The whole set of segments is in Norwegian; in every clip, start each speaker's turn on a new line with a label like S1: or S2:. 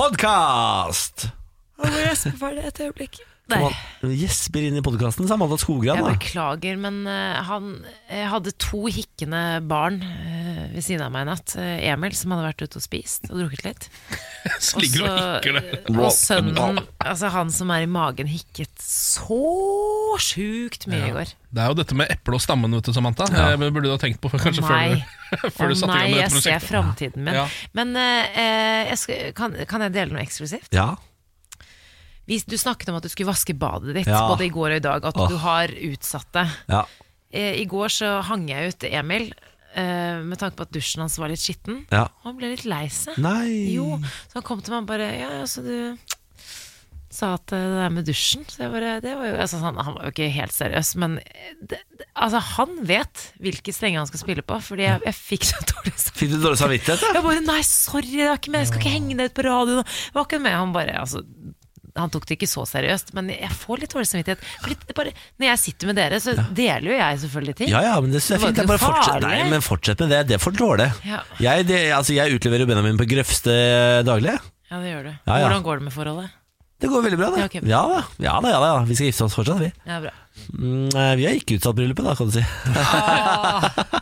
S1: podkast!
S2: Jeg må gjespe ferdig et øyeblikk.
S3: Nei,
S1: Hun gjesper inn i podkasten, sa Amanda Skogran.
S3: jeg
S1: da.
S3: beklager, men eh, han eh, hadde to hikkende barn eh, ved siden av meg i natt. Eh, Emil, som hadde vært ute og spist og drukket litt.
S4: Så ligger du og
S3: så-
S4: hikker det.
S3: Og sønnen, altså han som er i magen, hikket så sjukt mye i går.
S4: Det er jo dette med eple og stammen, vet du, Samantha. Eh, men Burde du ha tenkt på kanskje før
S3: nei.
S4: du,
S3: Å
S4: før du satte i
S3: nei,
S4: gang med
S3: jeg
S4: dette
S3: ser
S4: prosjektet?
S3: framtiden min.
S4: Ja.
S3: Men eh, jeg skal, kan, kan jeg dele noe eksklusivt?
S1: Ja.
S3: Hvis du snakket om at du skulle vaske badet ditt
S1: Ja.
S3: både i går og i dag, at
S1: Åh.
S3: du har utsatt det.
S1: ja.
S3: Eh, I går så hang jeg ut Emil eh, med tanke på at dusjen hans var litt skitten.
S1: Ja.
S3: Han ble litt lei seg.
S1: Nei
S3: Jo, så han kom til meg og bare Ja, altså du sa at eh, det der med dusjen så jeg bare, det var jo, altså, han, han var jo ikke helt seriøs, men eh, det, det, altså, han vet hvilke strenger han skal spille på, fordi jeg, jeg fikk så dårlig samvittighet.
S1: Fikk du dårlig samvittighet? da?
S3: Jeg bare nei, sorry, det var ikke med, jeg skal ikke henge deg ut på radioen. Det var ikke med. Han bare, altså han tok det ikke så seriøst, men jeg får litt dårlig samvittighet. Fordi det bare, når jeg sitter med dere, så deler jo jeg selvfølgelig ting.
S1: Ja ja, men det synes jeg er fint. Det er
S3: Det var ikke
S1: bare fortsett.
S3: farlig.
S1: Nei, men fortsett med det. Det er for dårlig.
S3: Ja.
S1: Jeg, det, altså, jeg utleverer jo Benjamin på Grøfste eh, daglig.
S3: Ja, det gjør du.
S1: Ja, ja.
S3: Hvordan går det med forholdet?
S1: Det går veldig bra, det.
S3: Ja, ok.
S1: Ja, da. ja da, ja da. Vi skal gifte oss fortsatt, vi.
S3: Ja, bra.
S1: Mm, eh, vi har ikke utsatt bryllupet, da, kan du si.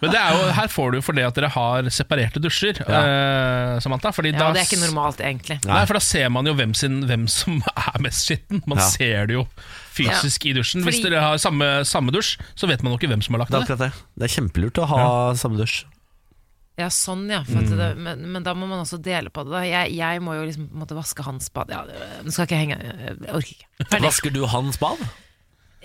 S4: Men det er jo, her får du jo for det at dere har separerte dusjer, eh, Samantha. Fordi
S3: Ja,
S4: da
S3: det er ikke normalt, egentlig.
S4: Nei. for da ser man jo hvem, sin, hvem som er mest skitten. Man
S1: Ja.
S4: ser det jo fysisk i dusjen. Hvis
S3: Fordi-
S4: dere har samme, samme dusj, så vet man jo ikke hvem som har lagt
S1: Det er
S4: det.
S1: akkurat det. Det er kjempelurt å ha samme dusj.
S3: Ja, sånn, ja.
S1: Mm.
S3: For at det, men, men da må man også dele på det. Da. Jeg, jeg må jo liksom på en måte vaske hans bad. Ja, det- nå skal jeg ikke henge Jeg orker ikke. Ferdig.
S1: Vasker du hans bad?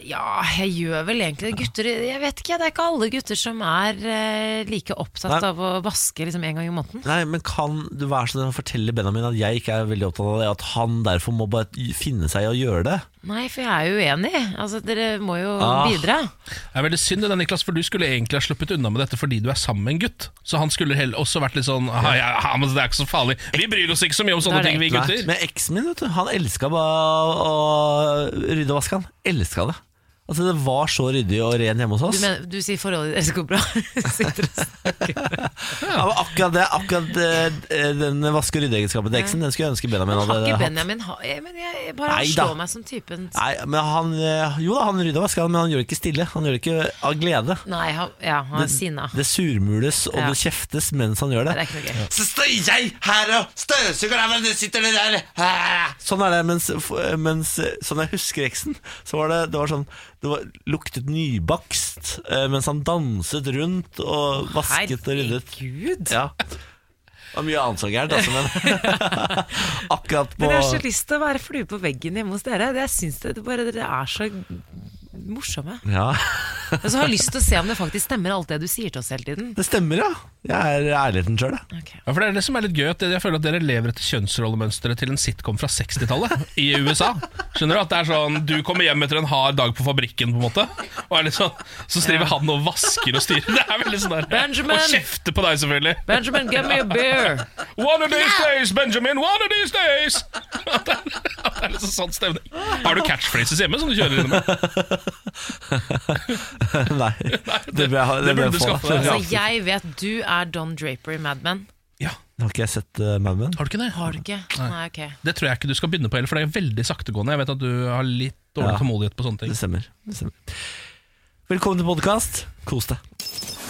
S3: Ja, jeg gjør vel egentlig det. Gutter, jeg vet ikke, det er ikke alle gutter som er eh, like opptatt
S1: Nei.
S3: av å vaske liksom en gang i måneden.
S1: Nei, men kan du være så snill å fortelle Benjamin at jeg ikke er veldig opptatt av det, at han derfor må bare finne seg i å gjøre det?
S3: Nei, for jeg er jo uenig. Altså, dere må jo
S1: Ah.
S3: bidra.
S4: Det er veldig synd, det der, Niklas, for du skulle egentlig ha sluppet unna med dette fordi du er sammen med en gutt. Så han skulle heller også vært litt sånn ah, ja, ja, men Det er ikke så farlig. Vi bryr oss ikke så mye om
S3: Da
S4: sånne
S3: er det
S4: ting, vi
S1: Nei,
S4: gutter.
S1: Men eksen min, vet du, han elska bare å rydde og vaske, han. Elska det. Altså, det var så ryddig og ren hjemme hos
S3: Du,
S1: oss.
S3: mener, du sier forholdet deres går bra. Sitter og snakker om det.
S1: Ja, men akkurat det, akkurat eh, den vaske- og ryddeegenskapen til eksen, den skulle jeg ønske Benjamin
S3: Har
S1: hadde
S3: ikke
S1: hatt.
S3: Benjamin ha, jeg, men jeg, jeg bare
S1: Nei
S3: han
S1: da.
S3: slår meg som typen
S1: Nei, men han, eh, jo da, han rydda og vaska, men han gjør det ikke stille. Han gjør det ikke av glede.
S3: Nei, han, ja, han er sinna.
S1: Det surmules og
S3: Ja.
S1: det kjeftes mens han gjør
S3: Det er
S1: det.
S3: ikke noe gøy.
S1: Så står jeg her og støvsuger der, men det sitter det der ah! Sånn er det, mens, mens Sånn jeg husker eksen, så var det, det var sånn Det var, luktet nybakst eh, mens han danset rundt og vasket og ryddet.
S3: Herregud.
S1: Ja. Det var mye annet så gærent, altså, men akkurat på
S3: Men jeg har så lyst til å være flue på veggen hjemme hos dere. Det- Jeg synes det, det bare, Dere er så morsomme.
S1: ja.
S3: Og så har jeg lyst til å se om det faktisk stemmer, alt det du sier til oss hele tiden.
S1: Det stemmer, ja. Jeg er ærligheten sjøl, jeg.
S3: Ok.
S4: Ja, for det er det som er litt gøy at Jeg føler at dere lever etter kjønnsrollemønsteret til en sitcom fra 60-tallet i USA. Skjønner du? At det er sånn Du kommer hjem etter en hard dag på fabrikken, på en måte. Og er litt sånn Så driver han og vasker og styrer. Det er veldig sånn der
S3: Benjamin!
S4: Og kjefter på deg, selvfølgelig.
S3: Benjamin, give me a beer!
S4: One of these days, Benjamin! One of these days! At det er, at det er liksom sånn stemning. Har du catchphrases hjemme som du kjører innom?
S1: Nei. Det, bør jeg ha-
S4: det
S1: bør jeg
S4: burde du
S1: få.
S4: skaffe deg.
S3: Altså, jeg vet du er Don Draper i Mad Men.
S4: Ja,
S1: Har ikke jeg sett uh, Mad Men?
S4: har du ikke det?
S3: Har du ikke? Nei, ok.
S4: Det tror jeg ikke du skal begynne på heller, for det er veldig saktegående. Jeg vet at du har litt dårlig
S1: Ja.
S4: tålmodighet på sånne ting.
S1: Det stemmer. Det stemmer. Velkommen til podkast. Kos deg.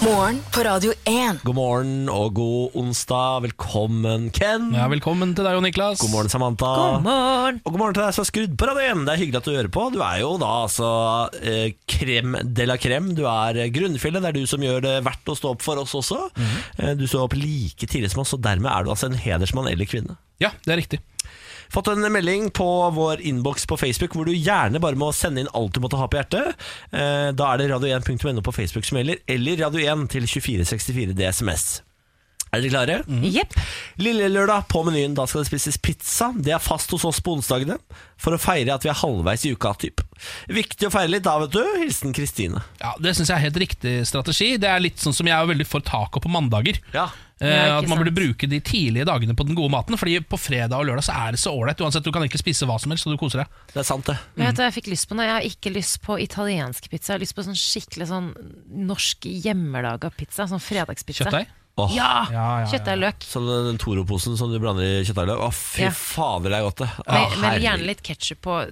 S5: Morgen på Radio 1.
S1: God morgen og god onsdag. Velkommen, Ken.
S4: Ja, velkommen til deg, Jo Niklas.
S1: God morgen, Samantha.
S3: God morgen!
S1: Og god morgen til deg som har skrudd på radioen. Det er hyggelig at du hører på. Du er jo da altså eh, krem de la krem. Du er eh, grunnfjellet. Det er du som gjør det verdt å stå opp for oss også.
S3: Mhm.
S1: Eh, Du står opp like tidlig som oss, og dermed er du altså en hedersmann eller -kvinne.
S4: Ja, det er riktig.
S1: Fått en melding på vår innboks på Facebook hvor du gjerne bare må sende inn alt du måtte ha på hjertet. Eh, Da er det radio1.no på Facebook som gjelder, eller radio1 til 2464 DSMS. Er dere klare?
S3: Jepp.
S1: Lille lørdag på menyen, da skal det spises pizza. Det er fast hos oss på onsdagene for å feire at vi er halvveis i uka. Typ. Viktig å feire litt da, vet du. Hilsen Kristine.
S4: Ja, Det syns jeg er helt riktig strategi. Det er litt sånn som jeg er veldig for taco på mandager.
S1: Ja.
S4: Eh,
S3: Ja, ikke
S4: at man
S3: sant.
S4: burde bruke de tidlige dagene på den gode maten. Fordi på fredag og lørdag så er det så ålreit. Uansett, du kan egentlig spise hva som helst, og du koser deg.
S1: Det er sant, det.
S3: Vet du, hva jeg fikk lyst på noe. Jeg har ikke lyst på italiensk pizza. Jeg har lyst på sånn skikkelig sånn norsk hjemmelaga pizza. Sånn fredagspizza.
S4: Kjøttdeig?
S1: Åh,
S3: Ja!
S4: Ja, ja, ja.
S3: Kjøttdeig og løk.
S1: Sånn den Toro-posen som du blander i kjøttdeig. Å, fy
S3: Ja.
S1: fader, det er godt, det. Å,
S3: Men, men
S1: herregud.
S3: gjerne litt ketsjup på,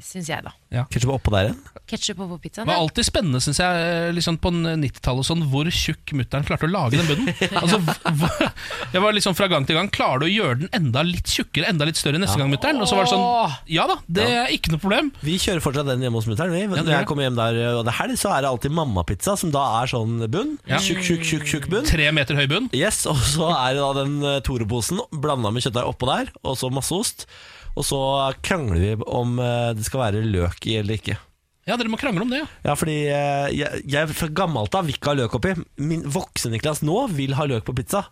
S3: syns jeg, da.
S1: Ketchup oppå der igjen?
S3: Ketsjup på pizzaen.
S4: Det var
S3: ja.
S4: alltid spennende, synes jeg, eh, liksom på n- 90-tallet og sånn, hvor tjukk mutter'n klarte å lage den bunnen. Altså, hv- jeg var liksom fra gang til gang Klarer du å gjøre den enda litt tjukkere, enda litt større neste gang, mutter'n? Og så var det sånn Ja da, det er ikke noe problem.
S1: Vi kjører fortsatt den hjemme hos mutter'n. vi. Når
S4: gjør
S1: jeg kommer hjem der eh, og det er helg, så er det alltid mammapizza, som da er sånn bunn. Tjukk, tjukk, tjukk, tjukk bunn.
S4: Tre meter høy bunn.
S1: Yes, Og så er det da den eh, Toro-posen blanda med kjøttdeig oppå der, og så masse ost. Og så krangler vi om eh, det skal være løk i eller ikke.
S4: Ja, dere må krangle om det, ja.
S1: Ja, fordi eh, jeg, jeg fra gammelt av vil ikke ha løk oppi. Min voksen-Niklas nå vil ha løk på pizza,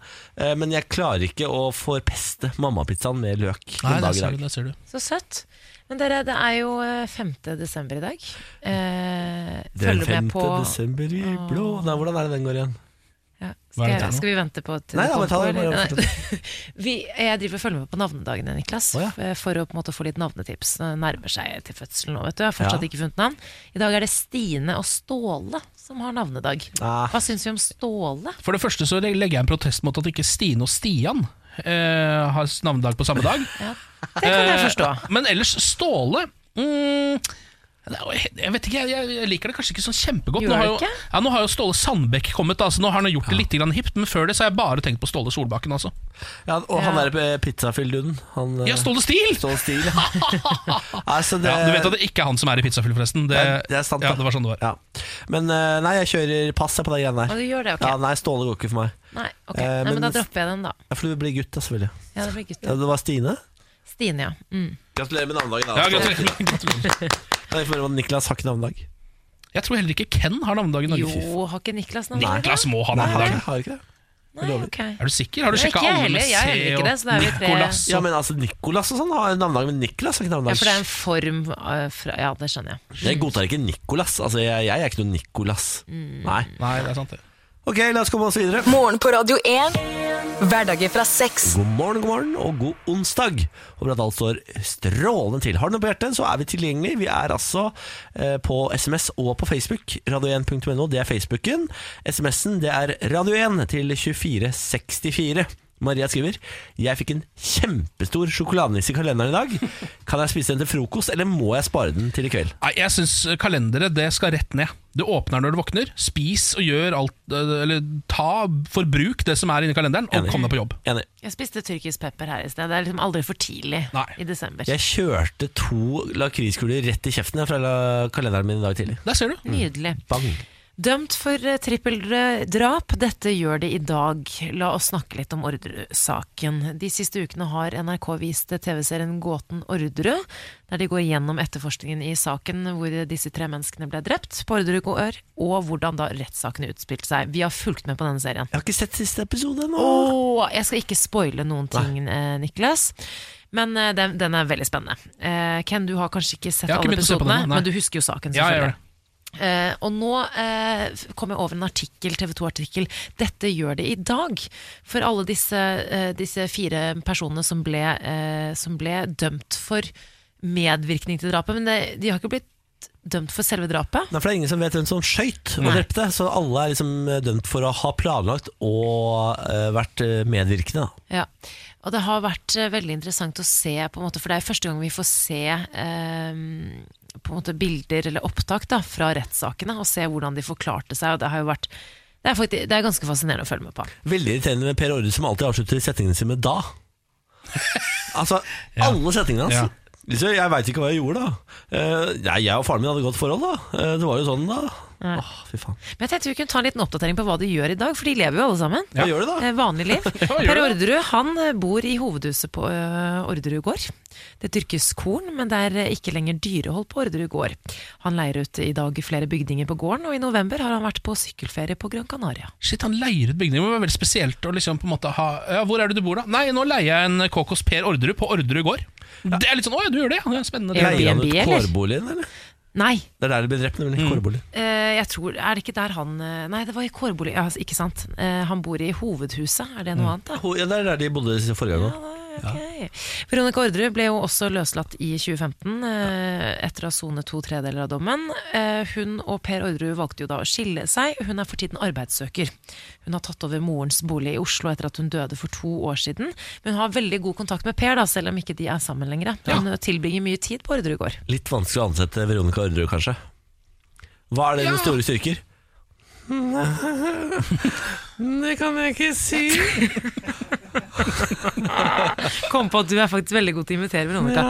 S1: eh, men jeg klarer ikke å forpeste mammapizzaen med løk
S4: Nei,
S1: den
S4: der
S1: dag i
S4: ser du,
S1: dag.
S4: der ser du.
S3: Så søtt. Men dere, det er jo eh, 5. desember i dag. Eh,
S1: Den
S3: følger
S1: 5.
S3: med på
S1: desember i blå Nei, hvordan er det den går igjen?
S3: ja. skal,
S4: Hva er det
S3: jeg,
S4: nå?
S3: skal vi vente på til
S1: Nei,
S3: det
S1: da, bare ta det,
S3: kommer,
S1: bare
S3: eller?
S1: fortsett.
S3: Vi, jeg driver og følger med på navnedagene, Niklas.
S1: Å, ja.
S3: f- For å på en måte få litt navnetips. Det nærmer seg til fødselen nå, vet du. Jeg har fortsatt
S1: Ja.
S3: ikke funnet navn. I dag er det Stine og Ståle som har navnedag.
S1: Ah.
S3: Hva syns vi om Ståle?
S4: For det første så legger jeg en protest mot at ikke Stine og Stian eh, har navnedag på samme dag.
S3: Det kan jeg forstå.
S4: Eh, Men ellers, Ståle mm, det er jo- jeg vet ikke, jeg, jeg liker det kanskje ikke sånn kjempegodt.
S3: Gjør
S4: Nå har,
S3: du
S4: jo,
S3: ikke?
S4: ja, nå har jo Ståle Sandbekk kommet, da, så nå har han gjort det litt grann hipt. Men før det så har jeg bare tenkt på Ståle Solbakken. Altså.
S1: Ja, og han der eh, pizzafyllduden. Han eh,
S4: Ja, Ståle Stil!
S1: Ståle Stil. ja. altså, det,
S4: Ja, du vet at det ikke er han som er i Pizzafyll, forresten. Det,
S1: Nei, det er sant,
S4: ja,
S1: da.
S4: det var sånn det var.
S1: Ja. Men eh, nei, jeg kjører pass jeg, på de greiene
S3: Og
S1: der.
S3: du gjør det, ok?
S1: Ja, nei, Ståle går ikke for meg.
S3: Nei, ok.
S1: Eh,
S3: Nei, men
S1: men-
S3: da dropper jeg den, da.
S1: Ja, for du blir gutt, da, selvfølgelig.
S3: Ja, det blir gutt.
S1: Ja, det var Stine.
S3: Stine, ja. Mm.
S1: Gratulerer med navnedagen.
S4: Ja, gratulerer. gratulerer.
S1: Jeg får høre om Niklas har ikke navnedag.
S4: Jeg tror heller ikke Ken har navnedag i Norge.
S3: Jo, har ikke Niklas navnedag?
S4: Niklas må ha
S1: Nei, har
S4: navnedag.
S1: ikke, har ikke det.
S3: Nei, ok.
S4: Er du sikker? Har du
S3: Nei, ikke
S4: sjekka
S3: jeg
S4: alle
S3: heller.
S4: med
S3: Jeg er
S4: C
S3: heller ikke det, så da
S4: og
S3: er vi tre-
S4: Nicolas?
S1: Ja, men altså, Nikolas og sånn har navnedag, men Niklas har ikke
S3: Ja,
S1: navnedag.
S3: for det er en form eh, fra Ja, det skjønner jeg.
S1: Jeg godtar ikke Nikolas. Altså, jeg, jeg er ikke noen Nikolas.
S3: Mm.
S1: Nei.
S4: Nei, det er sant, det.
S1: Ok, la oss komme oss videre.
S5: Morgen på Radio 1. Hverdager fra seks.
S1: God morgen, god morgen og god onsdag. Håper at alt står strålende til. Har du noe på hjertet, så er vi tilgjengelige. Vi er altså eh, på SMS og på Facebook. Radio1.no, det er Facebooken. SMS-en, det er Radio1 til 2464. Maria skriver Jeg fikk en kjempestor sjokoladenisse i kalenderen i dag. Kan jeg spise den til frokost, eller må jeg spare den til i kveld?
S4: Nei, jeg syns kalenderet det skal rett ned. Du åpner når du våkner, spis og gjør alt eh, Eller ta, forbruk det som er inni kalenderen, og
S1: Enig.
S4: kom deg på jobb.
S1: Enig.
S3: Jeg spiste tyrkisk pepper her i sted. Det er liksom aldri for tidlig
S4: Nei.
S3: i desember.
S1: Jeg kjørte to lakriskuler rett i kjeften jeg, fra la- kalenderen min i dag tidlig.
S4: Der ser du.
S3: Mm. Nydelig.
S1: Bang.
S3: Dømt for eh, trippeldrap. Dette gjør det i dag. La oss snakke litt om Orderud-saken. De siste ukene har NRK vist TV-serien Gåten Orderud, der de går gjennom etterforskningen i saken hvor disse tre menneskene ble drept på Orderud gård, og hvordan da rettssaken utspilte seg. Vi har fulgt med på denne serien.
S1: Jeg har ikke sett siste episode ennå.
S3: Åh, jeg skal ikke spoile noen ting, eh, Niklas. Men eh, den, den er veldig spennende. Eh, Ken, du har kanskje ikke sett
S4: Jeg har ikke
S3: alle
S4: begynt å se på den,
S3: episodene,
S4: nei.
S3: men du husker jo saken.
S4: Ja, jeg
S3: selvfølgelig.
S4: gjør det.
S3: Eh, og nå eh, kom jeg over en artikkel, TV 2-artikkel. Dette gjør det i dag. For alle disse, eh, disse fire personene som ble, eh, som ble dømt for medvirkning til drapet. Men det, de har ikke blitt dømt for selve drapet.
S1: Nei, for Det er ingen som vet hvem som skøyt og
S3: Nei.
S1: drepte, så alle er liksom eh, dømt for å ha planlagt og eh, vært eh, medvirkende. da.
S3: Ja. Og det har vært eh, veldig interessant å se, på en måte, for det er første gang vi får se eh, på en måte bilder eller opptak da, fra rettssakene, og se hvordan de forklarte seg. Og det, har jo vært, det, er faktisk, det er ganske fascinerende å følge med på.
S1: Veldig irriterende med Per Orre som alltid avslutter setningene sine med 'da'. altså, alle setningene hans.
S4: Ja.
S1: Liksom, jeg veit ikke hva jeg gjorde, da. Eh, nei, jeg og faren min hadde godt forhold, da. Eh, det var jo sånn, da.
S3: Nei.
S1: Åh, fy faen.
S3: Men jeg tenkte vi kunne ta en liten oppdatering på hva de gjør i dag, for de lever jo alle sammen.
S1: Hva gjør du, da?
S3: Eh, Vanlig liv.
S4: gjør
S3: Per
S4: det.
S3: Orderud han eh, bor i hovedhuset på eh, Orderud gård. Det dyrkes korn, men det er eh, ikke lenger dyrehold på Orderud gård. Han leier ut i dag flere bygninger på gården, og i november har han vært på sykkelferie på Gran Canaria.
S4: Shit, han leier ut bygninger. Det var veldig spesielt å liksom på en måte ha Ja, hvor er det du bor, da? Nei, nå leier jeg en KK hos Per Orderud på Orderud gård. Det er litt sånn Å ja, du gjør det? Ja, det er spennende.
S3: Ja.
S4: Det.
S1: Leier han ut
S3: Airbnb, eller?
S1: kårboligen, eller?
S3: Nei,
S1: Det er der de ble drept, nemlig. Kårboligen.
S3: eh, jeg tror Er det ikke der han eh, Nei, det var i kårbolig, ja, ikke sant. Eh, Han bor i hovedhuset, er det noe annet, da?
S1: Ho- Ja, det er der de bodde forrige gang òg.
S3: Ja, ok. Veronica Orderud ble jo også løslatt i 2015 eh, etter å ha sonet to tredeler av dommen. Eh, hun og Per Orderud valgte jo da å skille seg. Hun er for tiden arbeidssøker. Hun har tatt over morens bolig i Oslo etter at hun døde for to år siden. Men hun har veldig god kontakt med Per, da, selv om ikke de er sammen lenger. Hun tilbringer mye tid på Orderud gård.
S1: Litt vanskelig å ansette Veronica Orderud, kanskje. Hva er dine store styrker? Det kan jeg ikke si.
S3: kom på at du er faktisk veldig god til å imitere Veronica.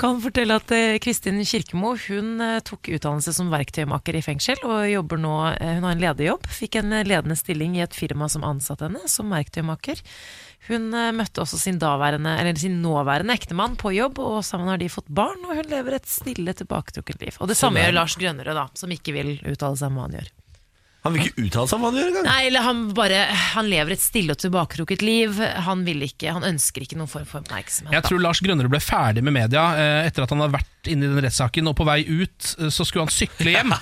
S3: Kan fortelle at eh, Kristin Kirkemo hun eh, tok utdannelse som verktøymaker i fengsel, og jobber nå, eh, hun har en lederjobb. Fikk en eh, ledende stilling i et firma som ansatte henne som verktøymaker. Hun eh, møtte også sin, daværende, eller sin nåværende ektemann på jobb, og sammen har de fått barn, og hun lever et stille, tilbaketrukket liv. Og det samme gjør Lars Grønnerød, da, som ikke vil uttale seg om hva han gjør.
S1: Han vil ikke uttale seg om hva han gjør engang.
S3: Nei, eller han bare Han lever et stille og tilbaketrukket liv. Han vil ikke, han ønsker ikke noen form for oppmerksomhet.
S4: Jeg tror Lars Grønnerud ble ferdig med media eh, etter at han har vært inne i den rettssaken, og på vei ut eh, så skulle han sykle hjem.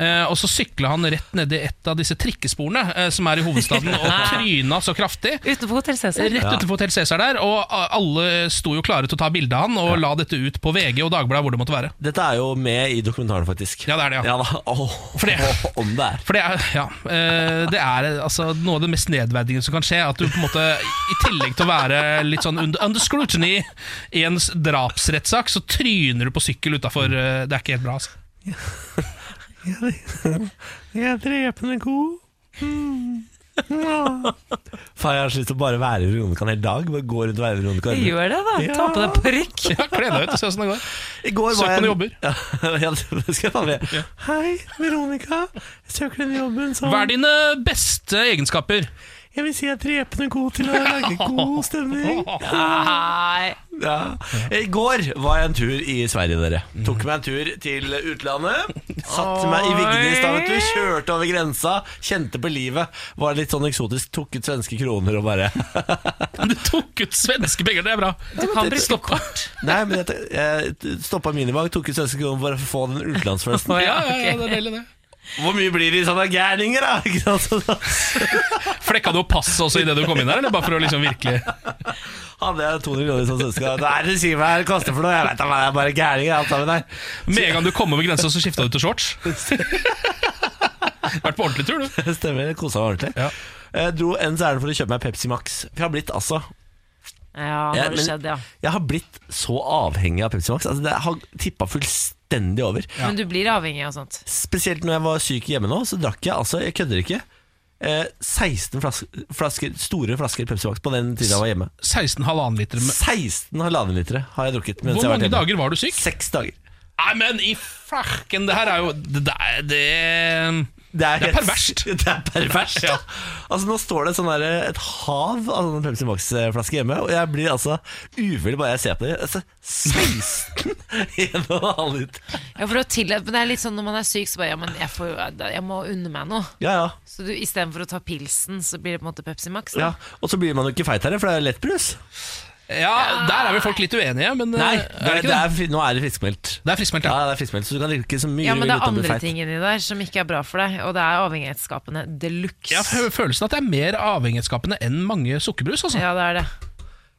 S4: Eh, og så sykla han rett nedi et av disse trikkesporene eh, som er i hovedstaden, og tryna så kraftig.
S3: Utenfor Hotell Cæsar.
S4: Rett utenfor Hotell Cæsar der, og a- alle sto jo klare til å ta bilde av han og la dette ut på VG og Dagbladet hvor det måtte være.
S1: Dette er jo med i dokumentaren, faktisk.
S4: Ja, det er det, ja.
S1: da. Åh,
S4: For det-
S1: om det er.
S4: For det er, ja, eh, det er eh, altså, noe av det mest nedverdigende som kan skje. At du på en måte, i tillegg til å være litt sånn under, under scrutiny i en s- drapsrettssak, så tryner du på sykkel utafor. Det er ikke helt bra, altså.
S1: Jeg er drepende god. Faen, jeg har så lyst til å bare være Veronica en hel dag. Bare gå rundt og være Veronica. Orderud.
S3: Gjør det, da.
S1: Ja.
S3: Ta på deg parykk.
S4: Ja, Kle deg ut og se åssen det går.
S1: I går
S4: Søk
S1: var jeg-
S4: på noen jobber.
S1: Ja, ja, det skal jeg faen meg. Hei, Veronica. Jeg søker den jobben som
S4: Hva er dine beste egenskaper?
S1: Jeg vil si jeg er drepende god til å lage god stemning.
S3: Nei.
S1: Ja. I går var jeg en tur i Sverige, dere. Tok meg en tur til utlandet. Satt meg i Vignis da, vet du. Kjørte over grensa. Kjente på livet. Var litt sånn eksotisk. Tok ut svenske kroner og bare
S4: Du tok ut svenske penger, det er bra.
S3: Du kan bruke
S4: Stoppa.
S1: Nei, men jeg, jeg stoppa minibank, tok ut svenske kroner for å få den utenlandsfølelsen.
S4: Ja, ja, ja, det er deilig, det.
S1: Hvor mye blir det i sånne gærninger, da? Ikke sant? Så da
S4: Flekka du opp passet også idet du kom inn her, eller bare for å liksom virkelig
S1: Hadde jeg 200 kroner som svenske Hva er det du sier meg det koster for noe? Jeg vet da, men jeg er bare gærning alt sammen her.
S4: Med en gang du kom over grensa, så skifta du til shorts. Vært på ordentlig tur, du.
S1: Stemmer, jeg kosa meg ordentlig.
S4: Ja.
S1: Jeg dro ens ærend for å kjøpe meg Pepsi Max. Jeg har blitt altså
S3: Ja,
S1: Ja,
S3: har det
S1: men-
S3: skjedd, ja.
S1: Jeg har blitt så avhengig av Pepsi Max. Altså, det har tippa fullstendig over.
S3: Men du blir avhengig av sånt.
S1: Spesielt når jeg var syk hjemme nå, så drakk jeg altså, jeg kødder ikke, eh, 16 flasker, flasker, store flasker Pepsi Max på den tida jeg var hjemme.
S4: 16,5 liter. med-
S1: 16 halvannen litere har jeg drukket mens
S4: Hvor
S1: jeg har vært
S4: mange
S1: hjemme.
S4: dager var du syk?
S1: Seks dager.
S4: Nei, men i farken, det her er jo Det, det, er- det Det er
S1: helt-
S4: perverst.
S1: Det er perverst.
S4: Ja.
S1: Altså Nå står det sånn der, et hav av sånne Pepsi Max-flasker hjemme, og jeg blir altså uvel bare jeg ser på dem. Altså, 16 i en og en halv liter.
S3: Ja, for å til, men det er litt sånn Når man er syk, så bare ja, men jeg, får, jeg må unne meg noe.
S1: Ja, ja.
S3: Så du, istedenfor å ta pilsen, så blir det på en måte Pepsi Max?
S1: ja.
S3: Da.
S1: Og så blir man jo ikke feit her, for det er jo lettbrus.
S4: Ja, der er vel folk litt uenige, men
S1: Nei,
S4: eh,
S1: det er,
S4: ikke
S1: det er, fri- nå er det friskmeldt.
S4: Det er friskmeldt,
S1: Ja,
S4: ja.
S1: det er friskmeldt, så du kan drikke så mye
S3: Ja, men
S1: du vil
S3: det er
S1: uten å bli
S3: andre
S1: feit.
S3: ting inni der som ikke er bra for deg, og det er avhengighetsskapende de luxe.
S4: Jeg har følelsen at det er mer avhengighetsskapende enn mange sukkerbrus. Altså.
S3: Ja, det er det.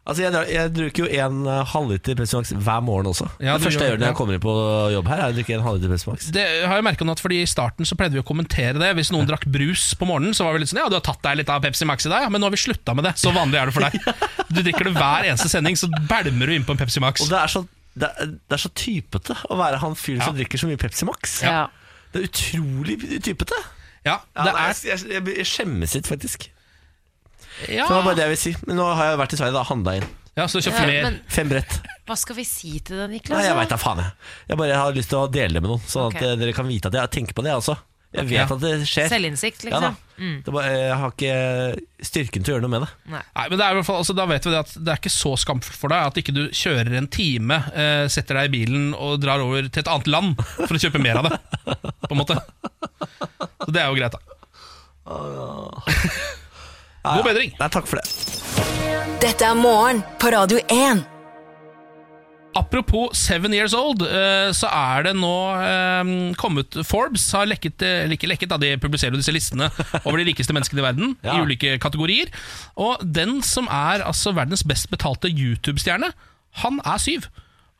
S1: Altså, jeg, drar- jeg bruker jo en eh, halvliter Pepsi Max hver morgen også.
S4: Ja,
S1: det
S4: du
S1: første jeg
S4: gjør-
S1: gjør når
S4: ja.
S1: jeg kommer inn på jobb her, er å drikke en halvliter Pepsi Max.
S4: Det har jeg merket nå at fordi I starten så pleide vi å kommentere det. Hvis noen drakk brus på morgenen, så var vi litt sånn Ja, du har tatt deg litt av Pepsi Max i dag, ja, men nå har vi slutta med det. Så vanlig er det for deg. Du drikker det hver eneste sending, så bælmer du inn på en Pepsi Max.
S1: Og det er så, det er, det er så typete å være han fyren som drikker så mye Pepsi Max.
S3: Ja.
S1: Det er utrolig typete.
S4: Ja,
S1: Ja,
S4: det
S1: nei,
S4: er
S1: jeg, jeg, jeg skjemmes litt, faktisk.
S4: Ja,
S1: Det var bare det jeg ville si. Men nå har jeg vært i Sverige da, handla inn.
S4: ja så kjøpt
S3: Ja,
S4: mer.
S3: men
S1: Fem brett.
S3: hva skal vi si til det, Niklas?
S1: Nei, jeg veit da faen, jeg. Jeg bare har lyst til å dele det med noen, sånn
S3: Ok.
S1: at eh, dere kan vite at jeg tenker på det, jeg også. Jeg vet
S4: Ja.
S1: at det skjer.
S3: Selvinnsikt,
S1: Ja, da.
S3: liksom?
S1: Det er bare, jeg har ikke styrken til å gjøre noe med det.
S4: Nei, men det er i hvert fall, altså, Da vet vi det at det er ikke så skamfullt for deg at ikke du kjører en time, eh, setter deg i bilen og drar over til et annet land for å kjøpe mer av det. På en måte Så det er jo greit, da. God bedring.
S1: Nei, takk for det.
S5: Dette er morgen på Radio 1.
S4: Apropos Seven Years Old, eh, så er det nå eh, kommet Forbes har lekket, eh, eller ikke lekket da, de publiserer jo disse listene over de rikeste menneskene i verden
S1: Ja.
S4: i ulike kategorier. Og den som er altså verdens best betalte YouTube-stjerne, han er syv.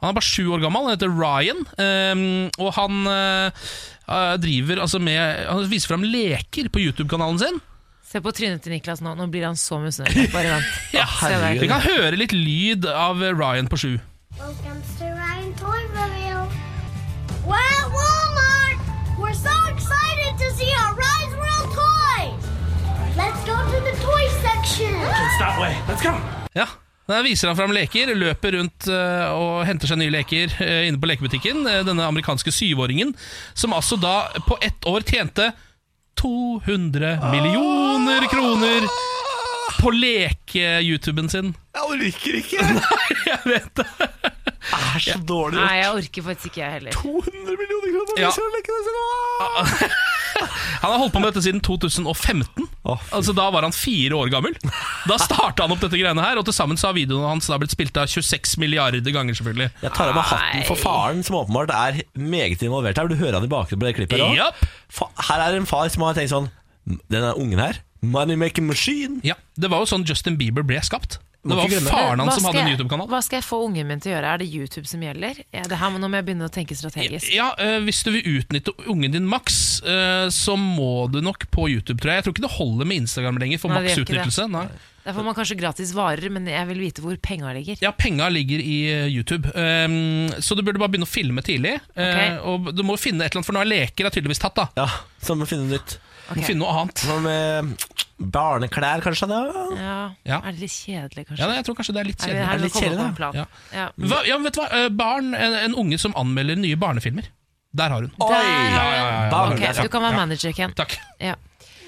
S4: Han er bare sju år gammel, han heter Ryan, eh, og han eh, eh, driver altså med Han viser fram leker på YouTube-kanalen sin.
S3: Se på trynet til Niklas nå. Nå blir han så misunnelig. Bare vent.
S4: Ja,
S3: Se der.
S4: Vi kan høre litt lyd av Ryan på sju.
S6: Welcome to Ryan Toyville. We're at Walmart. We're so excited to see our Rise World toys. Let's go to the toy section.
S4: Ja der viser han fram leker, løper rundt eh, og henter seg nye leker eh, inne på lekebutikken. Eh, Denne amerikanske syvåringen, som altså da på ett år tjente 200 millioner kroner på leke-YouTuben sin.
S1: Jeg orker ikke! Det
S4: Jeg vet det!
S1: er så dårlig.
S3: Nei, jeg orker faktisk ikke, jeg heller.
S1: 200 millioner kroner!
S4: Ja.
S1: hvis jeg legger det til nå.
S4: Han har holdt på med dette siden 2015.
S1: Å, fy.
S4: Altså Da var han fire år gammel. Da starta han opp dette greiene her, og til sammen så har videoene hans da blitt spilt av 26 milliarder ganger, selvfølgelig.
S1: Jeg tar av meg hatten for
S3: Nei.
S1: faren, som åpenbart er meget involvert her. Du hører han i bakgrunnen på det klippet. her også.
S4: Japp.
S1: Fa- Her er en far som har tenkt sånn Den er ungen her. Money making machine.
S4: Ja, Det var jo sånn Justin Bieber ble skapt.
S1: Må
S4: Det var
S1: ikke
S4: jo
S1: glemme.
S4: faren
S3: Hva
S4: hans som
S3: skal
S4: hadde en
S3: jeg-
S4: YouTube-kanal.
S3: Hva skal jeg få ungen min til å gjøre? Er det YouTube som gjelder? Ja, det her må, nå må jeg begynne å tenke strategisk.
S4: Ja, eh, Hvis du vil utnytte ungen din maks, eh, så må du nok på YouTube. tror Jeg Jeg tror ikke det holder med Instagram lenger for
S3: Nei, det
S4: maks
S3: gjør ikke det.
S4: utnyttelse. Nei.
S3: Der får man kanskje gratis varer, men jeg vil vite hvor penga ligger.
S4: Ja, Penga ligger i eh, YouTube, Eh, så du burde bare begynne å filme tidlig. eh, Og du må finne et eller annet, for nå er leker er tydeligvis tatt. da
S1: Ja, Som å finne nytt.
S4: Du må Finne noe annet.
S1: Som med barneklær, kanskje. Da.
S3: Ja.
S4: Ja.
S3: Er det litt kjedelig, kanskje?
S4: Ja, nei, jeg tror kanskje det er litt
S3: Er det her
S4: kjedelig.
S1: det litt
S3: vi kommer
S1: kjedelig,
S3: på
S1: da?
S3: en plan?
S4: Ja.
S3: Ja.
S4: Hva, ja, men vet du hva? Eh, Barn, en, en unge som anmelder nye barnefilmer. Der har hun.
S1: Oi!
S3: Der!
S4: Ja, ja, ja, ja.
S1: Barn,
S3: Ok,
S1: det er
S3: du kan være manager, Ken.
S4: Takk.
S3: Ja.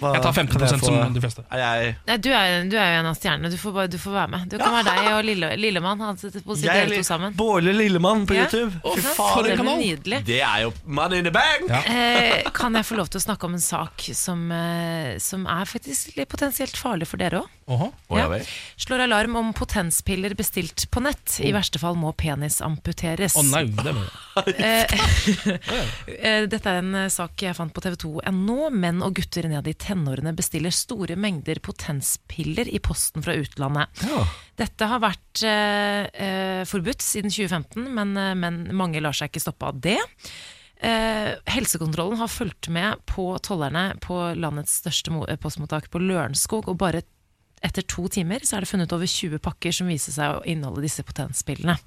S1: Hva-
S4: Jeg tar 15
S1: kan jeg få-
S4: som de fleste.
S1: Er jeg,
S3: Nei, du, er, du er jo en av stjernene. Du får, bare, du får være med. Du kan være deg og Lille, Lillemann. Han sitter på sitt
S1: jeg
S3: dere to sammen.
S1: Båle Lillemann på
S3: Ja.
S1: YouTube.
S3: Å,
S1: Fy
S3: sant?
S1: faen,
S3: Det
S1: det
S3: blir
S1: kanal!
S3: Nydelig.
S1: Det er jo money in the bank!
S4: Ja.
S3: Eh, kan jeg få lov til å snakke om en sak som, eh, som er faktisk litt potensielt farlig for dere òg?
S4: Åhå.
S1: Å, ja vel.
S3: Slår alarm om potenspiller bestilt på nett.
S1: Oh.
S3: I verste fall må penis amputeres.
S4: Å nei, det var
S3: Eh, Dette er en eh, sak jeg fant på tv2.no. Menn og gutter ned i tenårene bestiller store mengder potenspiller i posten fra utlandet.
S1: Ja.
S3: Dette har vært eh, eh, forbudt siden 2015, men, eh, men mange lar seg ikke stoppe av det. Eh, helsekontrollen har fulgt med på tollerne på landets største mo- eh, postmottak på Lørenskog, og bare etter to timer så er det funnet over 20 pakker som viser seg å inneholde disse potensspillene.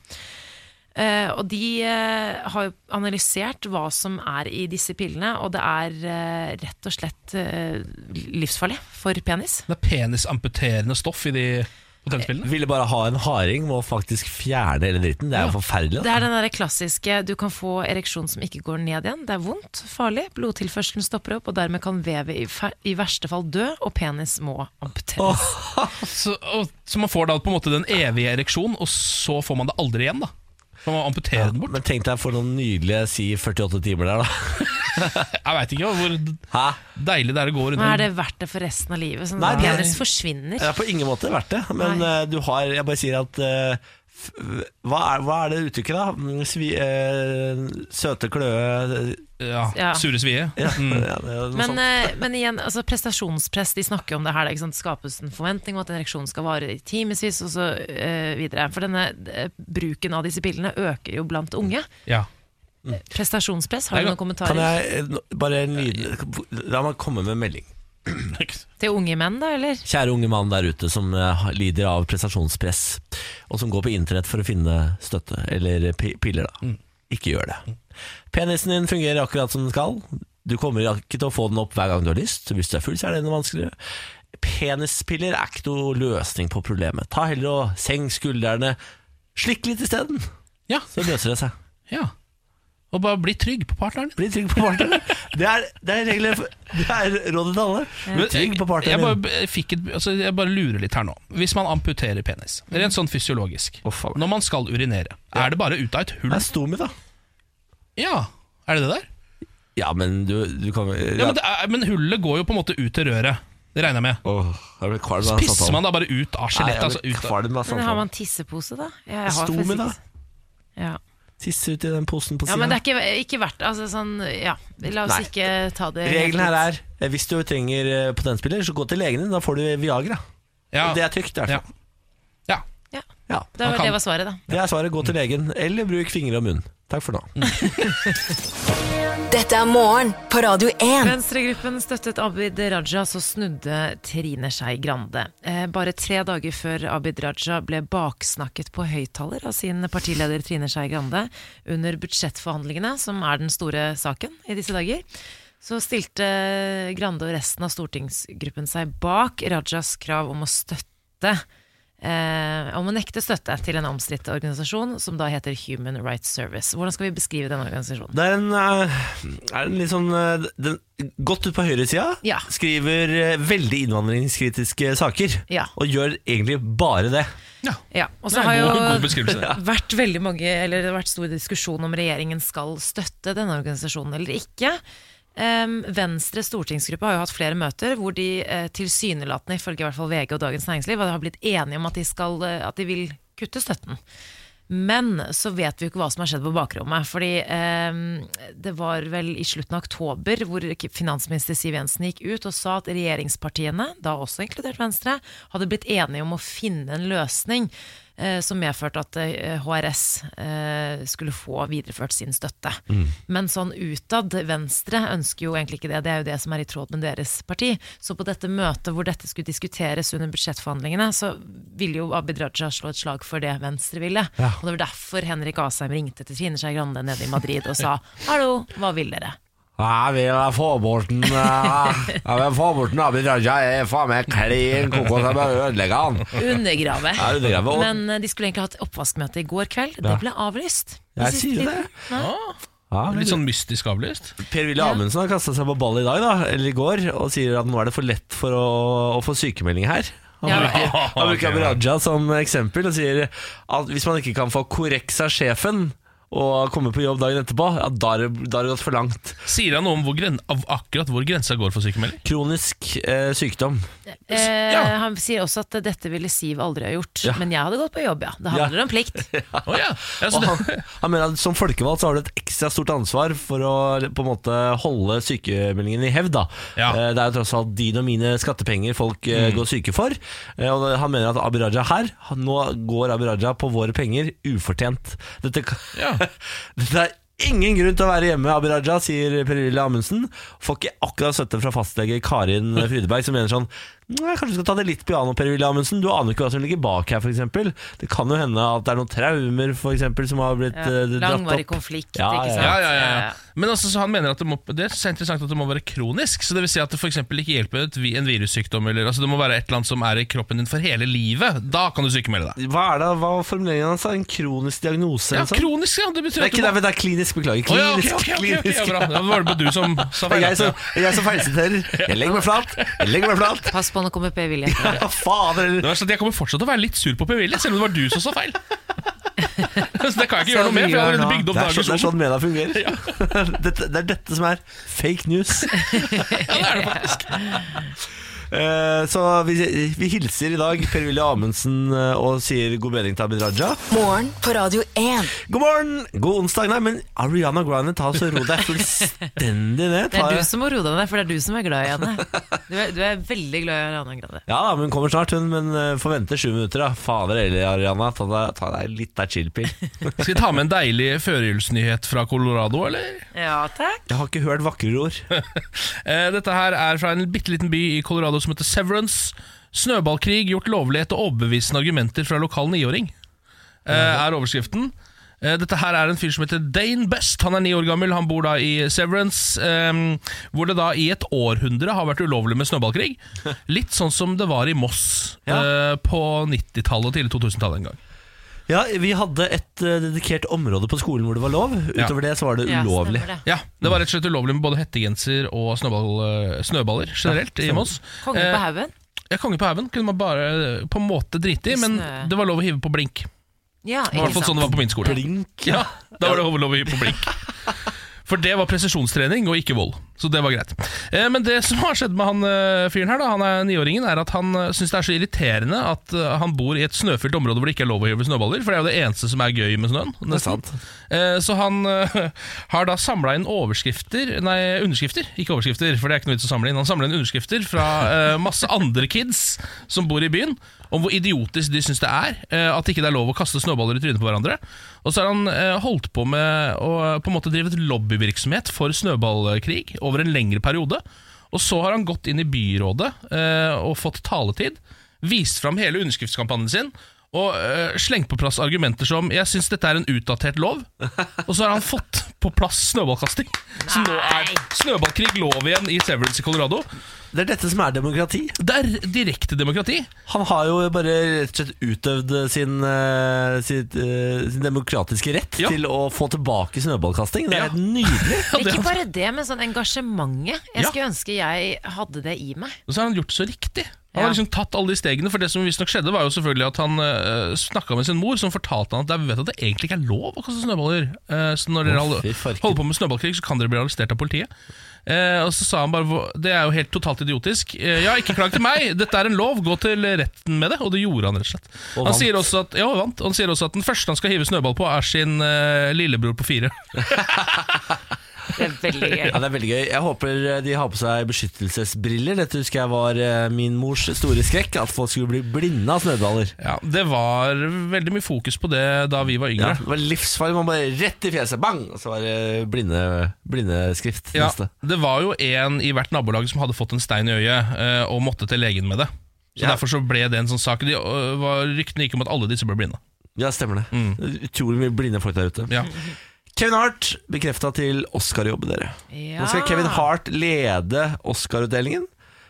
S3: Eh, og de eh, har jo analysert hva som er i disse pillene, og det er eh, rett og slett eh, livsfarlig for penis.
S4: Det er penisamputerende stoff i de hotellspillene.
S1: Ville bare ha en harding med å faktisk fjerne hele dritten. Det er jo forferdelig.
S3: Det
S1: Da.
S3: er den der klassiske 'du kan få ereksjon som ikke går ned igjen'. Det er vondt, farlig, blodtilførselen stopper opp, og dermed kan vevet i, fe- i verste fall dø, og penis må amputeres.
S1: Eh,
S4: Så, og, så man får da på en måte den evige ereksjon, og så får man det aldri igjen. da Så man amputerer den bort.
S1: Men tenk deg for noen nydelige si 48 timer der, da.
S4: Jeg veit ikke hvor
S1: Hæ?
S4: deilig det er å gå rundt
S3: Men er
S4: med
S3: det verdt det for resten av livet? Sånn,
S1: Nei,
S3: at
S1: det er-
S3: penis forsvinner.
S1: Det er på ingen måte verdt det, men
S3: Nei.
S1: eh, du har Jeg bare sier at eh, f- hva, er, hva er det uttrykket, da? Mm, Svi, eh, søte kløe eh,
S4: ja,
S3: Ja.
S4: sure svie.
S1: ja, ja, det er noe
S3: Men,
S1: sånt.
S3: eh, men igjen, altså prestasjonspress, de snakker jo om det her. da, Ikke sant? Det skapes en forventning om at en ereksjon skal vare i timevis og så eh, videre. For denne eh, bruken av disse pillene øker jo blant unge.
S4: Ja.
S3: Prestasjonspress, har du
S4: Jeg kan-
S3: noen
S1: Kan
S3: kommentarer
S1: jeg eh, nå- bare en liten La meg komme med en melding.
S3: til unge menn, da, eller?
S1: Kjære unge mann der ute som eh, lider av prestasjonspress, og som går på internett for å finne støtte, eller pi- piller, da.
S4: Mm.
S1: Ikke gjør det. Penisen din fungerer akkurat som den skal. Du kommer ikke til å få den opp hver gang du har lyst. Hvis du er full, så er det enda vanskeligere. Penispiller er ikke noe løsning på problemet. Ta heller og seng skuldrene, slikk litt isteden,
S4: Ja.
S1: så løser det seg.
S4: ja. Og bare bli trygg på partneren din.
S1: Bli trygg på partneren. Det er, det er, regler, for- det er rådet til alle. Bli trygg på
S4: jeg,
S1: partneren
S4: bare,
S1: din.
S4: b- fikk et, altså, jeg bare lurer litt her nå. Hvis man amputerer penis, rent sånn fysiologisk,
S1: Å, faen.
S4: når man skal urinere, er det bare ut av et hull?
S1: Det er stomi, da.
S4: Ja, er det det der?
S1: Ja, men du, du kan
S4: Ja, men, det er, men hullet går jo på en måte ut til røret. Det regner jeg med.
S1: Åh, jeg ble kvalm av
S4: Pisser man da bare ut av skjelettet? Altså,
S1: jeg ble
S4: ut av-
S1: kvalm av
S3: Men
S1: samtalen.
S3: har man tissepose, da? Jeg har
S1: Stomi,
S3: faktisk-
S1: sånn. da?
S3: Ja.
S1: Tisse ut i den posen på
S3: ja,
S1: siden
S3: men det er ikke, ikke verdt altså, sånn, ja, La oss
S1: Nei.
S3: ikke ta det
S1: Regelen her er eh, hvis du trenger eh, potensspiller, så gå til legen din. Da får du Viagra.
S4: Ja.
S1: Det er trygt, i hvert
S4: Ja.
S1: fall.
S4: ja.
S3: ja,
S1: Ja.
S3: det, var,
S4: kan-
S3: det var svaret, da.
S1: Det er svaret. Gå
S4: Mm.
S1: til legen, eller bruk fingre og munn. Takk for nå.
S5: Dette er morgen på Radio 1.
S3: Venstregruppen støttet Abid Raja, så snudde Trine Skei Grande. Eh, bare tre dager før Abid Raja ble baksnakket på høyttaler av sin partileder Trine Skei Grande under budsjettforhandlingene, som er den store saken i disse dager, så stilte Grande og resten av stortingsgruppen seg bak Rajas krav om å støtte Eh, om å nekte støtte til en omstridt organisasjon som da heter Human Rights Service. Hvordan skal vi beskrive denne organisasjonen?
S1: Det er en, eh, er en litt sånn eh, den, Godt ut på høyresida.
S3: Ja.
S1: Skriver eh, veldig innvandringskritiske saker.
S3: Ja.
S1: Og gjør egentlig bare det.
S3: Ja, og så
S4: Det er
S3: har
S4: en
S3: jo
S4: god, god beskrivelse.
S3: Det har vært veldig mange, eller det har vært stor diskusjon om regjeringen skal støtte denne organisasjonen eller ikke. Um, Venstre stortingsgruppe har jo hatt flere møter hvor de eh, tilsynelatende, ifølge i hvert fall VG og Dagens Næringsliv, har blitt enige om at de, skal, eh, at de vil kutte støtten. Men så vet vi jo ikke hva som har skjedd på bakrommet. Fordi eh, det var vel i slutten av oktober hvor finansminister Siv Jensen gikk ut og sa at regjeringspartiene, da også inkludert Venstre, hadde blitt enige om å finne en løsning eh, som medførte at eh, HRS eh, skulle få videreført sin støtte.
S1: Mm.
S3: Men sånn utad, Venstre ønsker jo egentlig ikke det, det er jo det som er i tråd med deres parti. Så på dette møtet hvor dette skulle diskuteres under budsjettforhandlingene, så ville jo Abid Raja slå et slag for det Venstre ville. Og det var derfor Henrik Asheim ringte til Trine Skei Grande nede i Madrid og sa hallo, hva vil dere?
S1: Jeg vil få bort den Jeg vil få bort den Abid Raja. Jeg er faen meg klin kokos. Jeg bare ødelegger han.
S3: Undergrave.
S1: Ja, undergrave, og-
S3: Men eh, de skulle egentlig hatt oppvaskmøte i går kveld, det ble avlyst.
S1: Jeg sier det. Ja,
S4: Litt sånn mystisk avlyst.
S1: Per Willy Amundsen har kasta seg på ball i dag, da, eller i går, og sier at nå er det for lett for å, å få sykemelding her. Han
S3: Ja.
S1: bruker, han bruker
S4: Ok, ja.
S1: Abid Raja som eksempel og sier at hvis man ikke kan få korreks av sjefen og komme på jobb dagen etterpå, ja, da er det da er det gått for langt.
S4: Sier han noe om hvor gren av akkurat hvor grensa går for sykemelding?
S1: Kronisk eh, sykdom.
S3: Eh,
S4: Ja.
S3: Han sier også at dette ville Siv aldri ha gjort,
S1: Ja.
S3: men jeg hadde gått på jobb, ja. Det handler om plikt.
S4: Å ja. Ja, så
S1: Og han,
S4: det,
S1: han mener at som folkevalgt så har du et ekstra stort ansvar for å på en måte holde sykemeldingen i hevd. da
S4: Ja.
S1: Eh, Det er jo tross alt dine og mine skattepenger folk eh,
S4: Mm.
S1: går syke for. Eh, Og han mener at Abid Raja her han- Nå går Abid Raja på våre penger ufortjent. Dette, kan-
S4: Ja.
S1: Dette er ingen grunn til å være hjemme, Abid Raja, sier Per-Willy Amundsen. Får ikke akkurat støtte fra fastlege Karin Frydeberg, som mener sånn Nei, kanskje du skal ta det litt piano, Per-Willy Amundsen. Du aner jo ikke hva som ligger bak her, f.eks. Det kan jo hende at det er noen traumer for eksempel, som har blitt
S3: Ja,
S1: eh, dratt
S3: Langvarig
S1: opp.
S3: konflikt,
S1: Ja,
S3: ikke
S1: ja,
S3: sant?
S4: ja, ja, ja, ja. Men altså, så han mener at det, må, det er så interessant at det må være kronisk. Så det vil si at det for eksempel ikke hjelper et, vi- en virussykdom. Eller, altså, det må være et eller annet som er i kroppen din for hele livet. Da kan du sykemelde deg.
S1: Hva er det, hva var formuleringen hans? da? En kronisk diagnose?
S4: Ja,
S1: eller sånn?
S4: kronisk, ja. Det
S1: Det er
S4: betyr at du
S1: ikke
S4: må
S1: det, men det er klinisk, beklager.
S4: Å ja, ok,
S1: Klinisk.
S4: ok, ok, ok,
S1: klinisk.
S4: ja, bra. Da var det bare du som sa
S1: Det
S4: feil.
S1: er jeg som, det er jeg som feilsiterer. Jeg legger meg flat. Jeg legger meg flat.
S3: Pass på, nå kommer Per-Willy.
S1: Ja, fader.
S4: Det var sånn at Jeg kommer fortsatt til å være litt sur på Per-Willy, selv om det var du som sa feil. Så det kan jeg ikke
S3: Så
S4: gjøre noe med, for jeg har allerede
S3: mye
S4: bygd opp
S1: Det er, så, det er
S4: dagens ord.
S1: sånn media fungerer. dette, det er dette som er fake news.
S4: Ja, det er det faktisk.
S1: Eh, så vi, vi hilser i dag Per-Willy Amundsen eh, og sier god bedring til Abid Raja.
S5: Morgen på Radio 1.
S1: God morgen! God onsdag. Nei, men Ariana Grande, ta så ro deg fullstendig ned.
S3: Det
S1: Ta,
S3: er du som må roe deg ned, for det er du som er glad i henne. Du er, du er veldig glad i Ariana Grande.
S1: ja da, men hun kommer snart, hun. Men eh, får vente sju minutter, da. Fader heller, Ariana. Ta deg, ta deg litt av chill-pill.
S4: Skal vi ta med en deilig førjulsnyhet fra Colorado, eller?
S3: Ja, takk.
S1: Jeg har ikke hørt vakrere ord.
S4: Eh, Dette her er fra en bitte liten by i Colorado som heter Severance. Snøballkrig gjort lovlig etter overbevisende argumenter fra lokal niåring, eh, er overskriften. Eh, Dette her er en fyr som heter Dane Best. Han er ni år gammel, han bor da i Severance. eh, Hvor det da i et århundre har vært ulovlig med snøballkrig. Litt sånn som det var i Moss
S1: Ja.
S4: eh, på 90-tallet og tidlig 2000-tallet en gang.
S1: Ja, vi hadde et eh, dedikert område på skolen hvor det var lov.
S4: Ja.
S1: Utover det så var det
S3: Ja,
S1: ulovlig.
S3: stemmer det.
S4: Ja, Det var rett og slett ulovlig med både hettegenser og snøball, eh, snøballer generelt i Moss.
S3: Kongen
S4: Eh,
S3: på haugen.
S4: Ja, Konge på haugen kunne man bare eh, på en måte drite i, men
S3: Snø.
S4: det var lov å hive på blink.
S3: Ja,
S4: Det var i hvert
S3: ikke
S4: fall sånn
S3: sant.
S4: det var på min skole.
S1: Blink.
S4: Ja, Da var det lov å hive på blink. For det var presisjonstrening og ikke vold. Så det var greit. Eh, Men det som har skjedd med han eh, fyren her, da, han er niåringen, er at han eh, syns det er så irriterende at eh, han bor i et snøfylt område hvor det ikke er lov å hive snøballer. For det er jo det eneste som er gøy med snøen. nesten.
S1: sant.
S4: Eh, Så han eh, har da samla inn overskrifter Nei, underskrifter, ikke overskrifter, for det er ikke noe vits å samle inn. Han samler inn underskrifter fra eh, masse andre kids som bor i byen, om hvor idiotisk de syns det er eh, at ikke det er lov å kaste snøballer i trynet på hverandre. Og så har han eh, holdt på med å eh, på en måte drive et lobbyvirksomhet for snøballkrig over en lengre periode. Og så har han gått inn i byrådet eh, og fått taletid, vist fram hele underskriftskampanjen sin og eh, slengt på plass argumenter som 'jeg syns dette er en utdatert lov', og så har han fått på plass snøballkasting. Så nå er snøballkrig lov igjen i Severance i Colorado.
S1: Det er dette som er demokrati.
S4: Det er direkte demokrati.
S1: Han har jo bare rett og slett utøvd sin, eh, sitt, eh, sin demokratiske rett
S4: Ja.
S1: til å få tilbake snøballkasting. Det
S4: Ja.
S1: er helt nydelig.
S4: Ja, det-
S3: Ikke bare det, men sånn engasjementet. Jeg
S4: Ja.
S3: skulle ønske jeg hadde det i meg.
S4: Og så har han gjort det så riktig. Han har
S3: Ja.
S4: liksom tatt alle de stegene, for det som visstnok skjedde, var jo selvfølgelig at han uh, snakka med sin mor, som fortalte han at jeg vet at det egentlig ikke er lov å kaste snøballer. Eh, så når
S1: Å,
S4: dere hold-
S1: fy farken.
S4: holder på med snøballkrig, så kan dere bli arrestert av politiet. Eh, og så sa han bare "Hva- Det er jo helt totalt idiotisk. Eh, ja, ikke klag til meg, dette er en lov, gå til retten med det. Og det gjorde han rett og slett.
S1: Og
S4: han
S1: vant.
S4: sier også at, ja, og vant. Og han sier også at den første han skal hive snøball på, er sin eh, lillebror på fire.
S3: Det er veldig gøy.
S1: Ja, det er veldig gøy. Jeg håper eh, de har på seg beskyttelsesbriller. Dette husker jeg var eh, min mors store skrekk, at folk skulle bli blinde av snøballer.
S4: Ja, Det var veldig mye fokus på det da vi var
S1: Ja,
S4: yngre.
S1: det var livsfarlig. Man bare rett i fjeset, bang! Og så var det blinde, blindeskrift
S4: Ja,
S1: neste.
S4: det var jo en i hvert nabolag som hadde fått en stein i øyet eh, og måtte til legen med det. Så
S1: Ja.
S4: Derfor så ble det en sånn sak. De, øh, var, ryktene gikk om at alle disse ble blinde.
S1: Ja, stemmer det. Utrolig mye blinde folk der ute.
S4: Mm. Ja.
S1: Kevin Hart bekrefta til Oscar-jobb, dere.
S3: Ja.
S1: Nå skal Kevin Hart lede Oscar-utdelingen.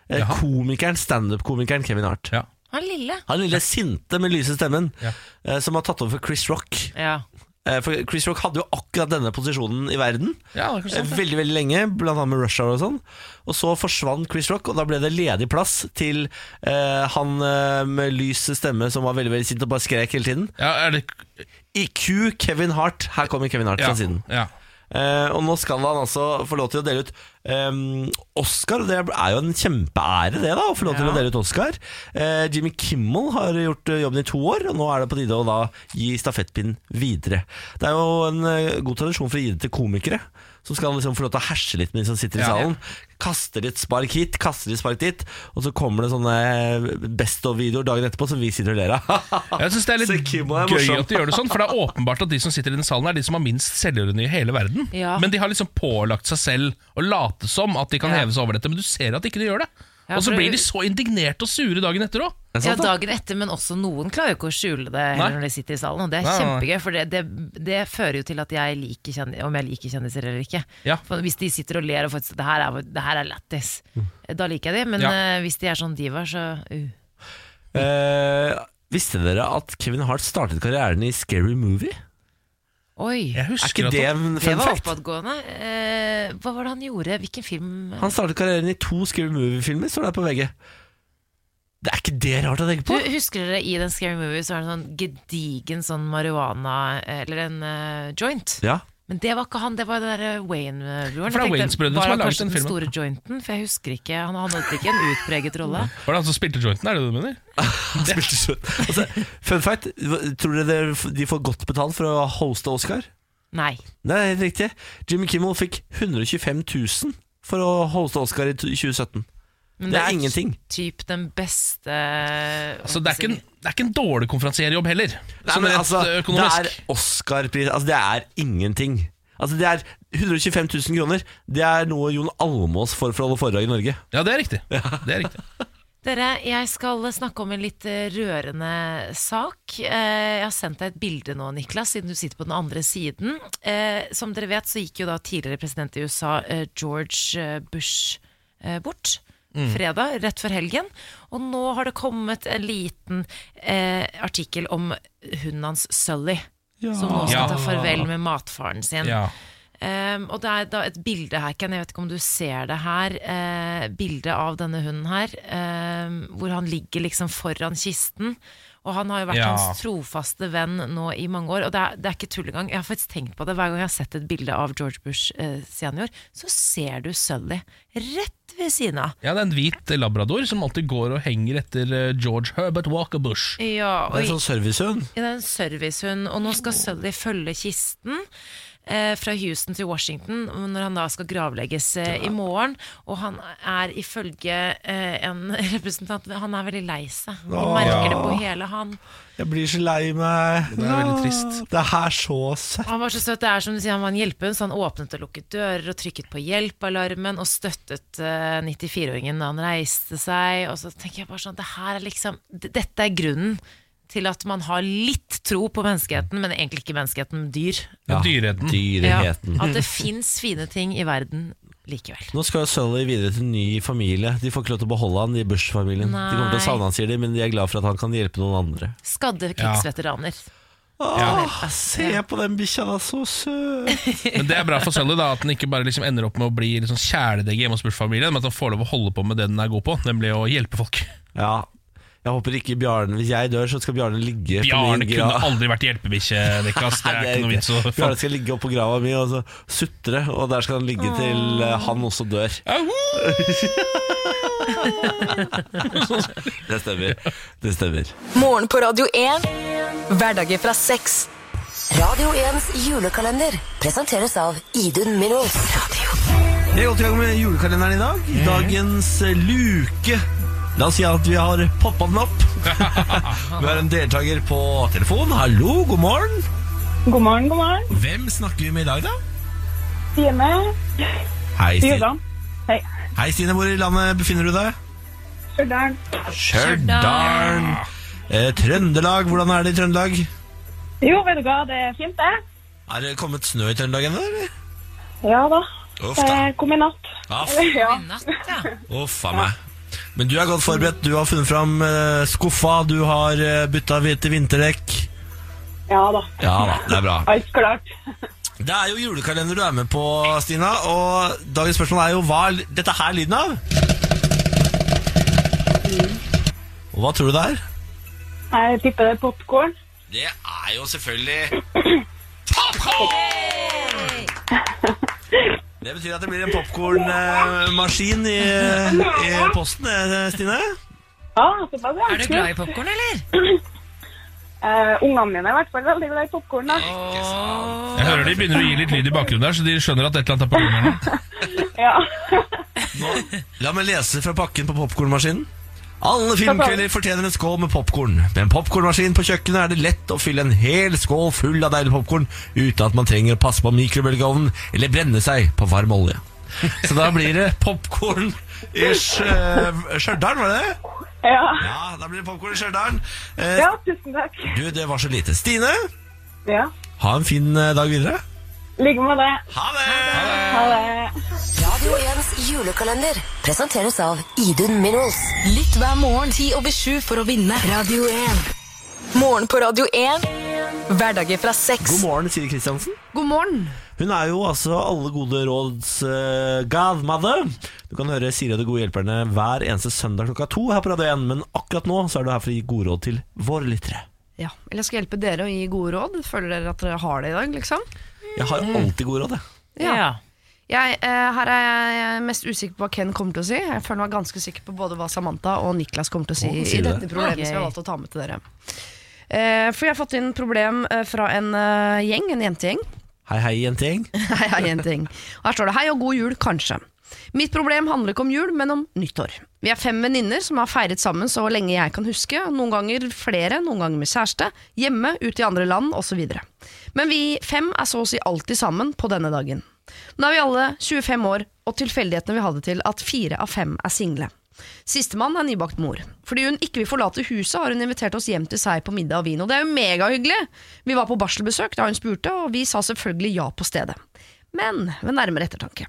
S1: Eh,
S4: Jaha.
S1: Komikeren, Standup-komikeren Kevin Hart.
S4: Ja.
S3: Han lille.
S1: Han lille sinte med lyse stemmen
S4: Ja.
S1: eh, som har tatt over for Chris Rock.
S3: Ja.
S1: Eh, For Chris Rock hadde jo akkurat denne posisjonen i verden.
S4: Ja, det
S1: Eh,
S4: er kanskje sant, det.
S1: Veldig veldig lenge, blant annet med Rush Hour og sånn. Og så forsvant Chris Rock, og da ble det ledig plass til eh, han eh, med lys stemme som var veldig veldig sint og bare skrek hele tiden.
S4: ja, er det,
S1: IQ Kevin Hart. Her kommer Kevin Hart
S4: ja,
S1: fra siden.
S4: ja.
S1: Eh, og nå skal han altså få lov til å dele ut eh, Oscar. Det er jo en kjempeære, det, da, å få lov til
S3: Ja.
S1: å dele ut Oscar. Eh, Jimmy Kimmel har gjort eh, jobben i to år, og nå er det på tide å da gi stafettpinnen videre. Det er jo en eh, god tradisjon for å gi det til komikere, som skal liksom få lov til å herse litt med de som sitter i
S4: Ja.
S1: salen. Kaster et spark hit, kaster et spark dit, og så kommer det sånne eh, best of-videoer dagen etterpå som vi sitter og ler av.
S4: Jeg syns Ah, det er
S1: Så
S4: litt
S1: Kimmo er
S4: gøy
S1: morsom.
S4: at de gjør det sånn, for det er åpenbart at de som sitter i den salen, er de som har minst selvironi i hele verden.
S3: Ja.
S4: Men de har liksom pålagt seg selv å late som at de kan
S3: Ja.
S4: heve seg over dette, men du ser at ikke de gjør det.
S3: Ja,
S4: og så
S3: for-
S4: blir de så indignerte og sure dagen etter òg.
S3: Ja, dagen etter, men også noen klarer jo ikke å skjule det
S4: sånn Nei.
S3: heller når de sitter i salen. Og det er
S4: Nei, nei, nei.
S3: kjempegøy, for det, det, det fører jo til at jeg liker kjendiser, om jeg liker kjendiser eller ikke.
S4: Ja.
S3: For hvis de sitter og ler og faktisk det her er, det her er lættis, da liker jeg de. Men
S4: Mm. Ja.
S3: eh, hvis de er sånn divaer, så uh.
S1: Eh, visste dere at Kevin Hart startet karrieren i Scary Movie?
S3: Oi!
S4: Jeg
S1: Er
S4: husker
S1: ikke det
S4: at
S1: en
S3: Det
S1: fun
S3: var
S1: fact?
S3: oppadgående. Eh, hva var det han gjorde? Hvilken film?
S1: Han startet karrieren i to Scary Movie-filmer, står det her på VG. Det er ikke det rart å tenke
S3: Du,
S1: på?
S3: husker dere i den Scary Movie så var det en sånn gedigen sånn marihuana eh, Eller en eh, joint.
S1: Ja,
S3: Men det var ikke han, det var den der eh, Wayne-broren.
S4: For det er Wayans-brødrene som har laget den filmen.
S3: store jointen, for jeg husker ikke. Han hadde ikke en utpreget rolle.
S4: Var det han som spilte jointen, er det det du mener?
S1: han spilte så altså, Fun fact, hva- tror dere det- de får godt betalt for å hoste Oscar?
S3: Nei.
S1: Det er helt riktig. Jimmy Kimmel fikk 125 000 for å hoste Oscar i t- 2017.
S3: Men
S1: Det er ingenting.
S3: typ den beste
S4: Altså, det, er ikke en, det er ikke en dårlig konferansierjobb heller,
S1: Nei,
S4: sånn
S1: men
S4: rett
S1: altså,
S4: økonomisk.
S1: Det er Oscar-pris Altså, det er ingenting. Altså, det er 125 000 kroner. Det er noe Jon Almås får for å holde foredrag i Norge.
S4: Ja, det er riktig. Det er riktig.
S3: Dere, jeg skal snakke om en litt eh, rørende sak. Eh, Jeg har sendt deg et bilde nå, Niklas, siden du sitter på den andre siden. Eh, Som dere vet, så gikk jo da tidligere president i USA, eh, George eh, Bush, eh, bort.
S4: Mm.
S3: Fredag, rett før helgen. Og nå har det kommet en liten eh, artikkel om hunden hans Sully, som nå skal
S4: Ja.
S3: ta farvel med matfaren sin.
S4: Ja.
S3: Um, og det er da et bilde her, Ken, jeg vet ikke om du ser det her. eh, ehm, Uh, bildet av denne hunden her, um, hvor han ligger liksom foran kisten. Og han har jo vært
S4: Ja.
S3: hans trofaste venn nå i mange år. Og det er, det er ikke tull engang. Jeg har faktisk tenkt på det hver gang jeg har sett et bilde av George Bush eh, senior, så ser du Sully rett ved siden av.
S4: Ja, det er en hvit eh, labrador som alltid går og henger etter eh, George Herbert Walker Bush.
S3: Ja,
S1: Det er sånn servicehund.
S3: Ja, det er en servicehund, og nå skal Sully følge kisten eh, fra Houston til Washington når han da skal gravlegges eh, i morgen. Og han er ifølge eh, en representant Han er veldig lei seg. Han merker det på hele han.
S1: Jeg blir så lei meg.
S4: Det er veldig trist.
S1: Det her så søtt.
S3: Han var så søt. Det er som du sier, han var en hjelpehund, så han åpnet og lukket dører og trykket på hjelpealarmen og støttet eh, 94-åringen da han reiste seg. Og så tenker jeg bare sånn, det her er liksom, d- dette er grunnen til at man har litt tro på menneskeheten, men egentlig ikke menneskeheten, men dyr.
S4: Ja, dyreheten.
S1: Dyreheten.
S3: Ja, at det fins fine ting i verden likevel.
S1: Nå skal jo Sully videre til en ny familie. De får ikke lov til å beholde han, de i Bush-familien. De kommer til å
S3: Nei.
S1: savne han, sier de, men de er glad for at han kan hjelpe noen andre.
S3: Skadde krigsveteraner.
S1: Åh, se på den bikkja, da. Så søt.
S4: Men det er bra for Sully da at han ikke bare liksom ender opp med å bli liksom kjæledegg hjemme hos Bush-familien, men at han får lov å holde på med det den er god på, nemlig å hjelpe folk.
S1: Ja. Jeg håper ikke Bjarne Hvis jeg dør, så skal Bjarne ligge på
S4: Bjarne
S1: min
S4: kunne
S1: grav.
S4: aldri vært hjelpebikkje, Niklas. Det er
S1: Nei,
S4: ikke noe vits å
S1: Bjarne skal ligge oppå grava mi og så sutre, og der skal han ligge til eh, han også dør. Det stemmer. Det stemmer.
S5: Morgen på Radio 1. Hverdager fra seks. Radio 1s julekalender presenteres av Idun Minos.
S1: Vi er godt i gang med julekalenderen i dag. Dagens eh, luke. La oss si at vi har poppa den opp. vi har en deltaker på telefon. Hallo, god morgen.
S7: God morgen, god morgen.
S1: Hvem snakker vi med i dag, da?
S7: Stine.
S1: Hei, Stine.
S7: Jørgen. Hei.
S1: Hei, Stine. Hvor i landet befinner du deg?
S7: Stjørdal.
S1: Stjørdal. Eh, Trøndelag. Hvordan er det i Trøndelag?
S7: Jo, vet du hva, det er fint, det.
S1: Er det kommet snø i Trøndelag ennå, eller?
S7: Ja da.
S1: Uff
S7: Det
S1: da.
S7: kom i natt.
S1: Aff,
S7: Ja.
S3: Natt, ja.
S1: uff a meg. Men du er godt forberedt. Du har funnet fram eh, skuffa, du har eh, bytta hvite vinterdekk.
S7: ja da.
S1: Ja da, det er bra.
S7: Alt klart.
S1: Det er jo julekalender du er med på, Stina. Og dagens spørsmål er jo hva er l- dette her lyden av? Og hva tror du det er?
S7: Jeg tipper det er popkorn.
S1: Det er jo selvfølgelig popkorn! Det betyr at det blir en popkornmaskin i, i posten, eh, Stine.
S7: Ja, såpass, ja.
S3: Er du glad i popkorn, eller?
S7: Eh, ungene mine er i hvert fall veldig glad i popkorn, da.
S4: Jeg hører de begynner å gi litt lyd i bakgrunnen der, så de skjønner at et eller annet er på gang her nå.
S7: Ja.
S1: La meg lese fra pakken på popkornmaskinen. Alle filmkvelder fortjener en skål med popkorn. Med en popkornmaskin på kjøkkenet er det lett å fylle en hel skål full av deilig popkorn uten at man trenger å passe på mikrobølgeovnen eller brenne seg på varm olje. Så da blir det popkorn i Sjø- Stjørdal, var det det?
S7: ja.
S1: Ja, da blir det popkorn i Stjørdal. Eh,
S7: Ja, tusen takk.
S1: Du, det var så lite. Stine,
S7: Ja.
S1: ha en fin eh, dag videre.
S7: Ligger med det.
S1: Ha det!
S7: Ha det.
S5: Radio 1s julekalender presenteres av Idun Minos. Lytt hver morgen 10 over 7 for å vinne Radio 1. Morgen på Radio 1. Hverdager fra
S1: God
S5: 6.
S1: morgen, Siri Kristiansen. God morgen. Hun er jo altså alle gode råds eh, godmother. Du kan høre Siri og de gode hjelperne hver eneste søndag klokka to her på Radio 1, men akkurat nå så er du her for å gi gode råd til våre lyttere.
S8: Ja, eller jeg skal hjelpe dere å gi gode råd. Føler dere at dere har det i dag, liksom?
S1: Jeg har alltid gode råd, jeg.
S8: Ja. Jeg, eh, her er jeg mest usikker på hva Ken kommer til å si. Jeg føler meg ganske sikker på både hva Samantha og Niklas kommer til å si
S1: Å, sier
S8: i
S1: du
S8: dette
S1: det?
S8: problemet som jeg har valgt å ta med til dere. Eh, for jeg har fått inn problem eh, fra en eh, gjeng, en jentegjeng.
S1: Hei, hei, jentegjeng.
S8: Hei, hei, en ting. Her står det 'Hei og god jul, kanskje'. Mitt problem handler ikke om jul, men om nyttår. Vi er fem venninner som har feiret sammen så lenge jeg kan huske. Noen ganger flere, noen ganger med kjæreste. Hjemme, ute i andre land osv. Men vi fem er så å si alltid sammen på denne dagen. Nå er vi alle 25 år, og tilfeldighetene vil ha det til at fire av fem er single. Sistemann er nybakt mor. Fordi hun ikke vil forlate huset, har hun invitert oss hjem til seg på middag og vin. Og det er jo megahyggelig! Vi var på barselbesøk da hun spurte, og vi sa selvfølgelig ja på stedet. Men ved nærmere ettertanke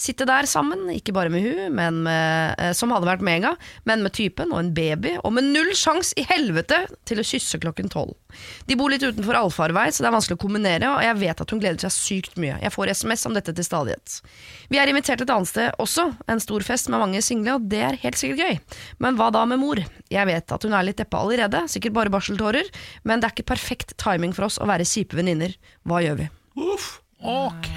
S8: Sitte der sammen, ikke bare med hun, men med, eh, som hadde vært mega, men med typen og en baby, og med null sjans i helvete til å kysse klokken tolv. De bor litt utenfor allfarvei, så det er vanskelig å kombinere, og jeg vet at hun gleder seg sykt mye. Jeg får SMS om dette til stadighet. Vi er invitert et annet sted også, en stor fest med mange single, og det er helt sikkert gøy. Men hva da med mor? Jeg vet at hun er litt deppa allerede, sikkert bare barseltårer, men det er ikke perfekt timing for oss å være kjipe venninner. Hva gjør vi?
S1: Uff.
S4: Ok.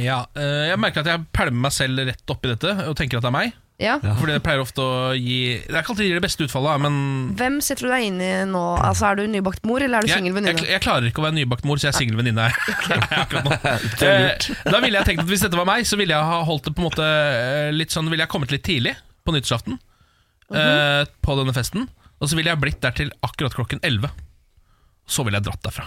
S4: Ja, eh, jeg merker at jeg pælmer meg selv rett oppi dette og tenker at det er meg.
S8: Ja?
S4: Fordi det pleier ofte å gi Det er ikke alltid det gir det beste utfallet, da, men
S8: Hvem setter du deg inn i nå? Altså, Er du nybakt mor, eller er du
S4: jeg,
S8: singel
S4: jeg,
S8: venninne?
S4: jeg klarer ikke å være nybakt mor, så jeg er singel venninne. her. Akkurat nå. Eh, Da ville jeg tenkt at Hvis dette var meg, så ville jeg ha holdt det på en måte eh, litt sånn Ville jeg kommet litt tidlig på nyttårsaften
S8: Mhm.
S4: eh, på denne festen. Og så ville jeg blitt der til akkurat klokken 11. Så ville jeg dratt derfra.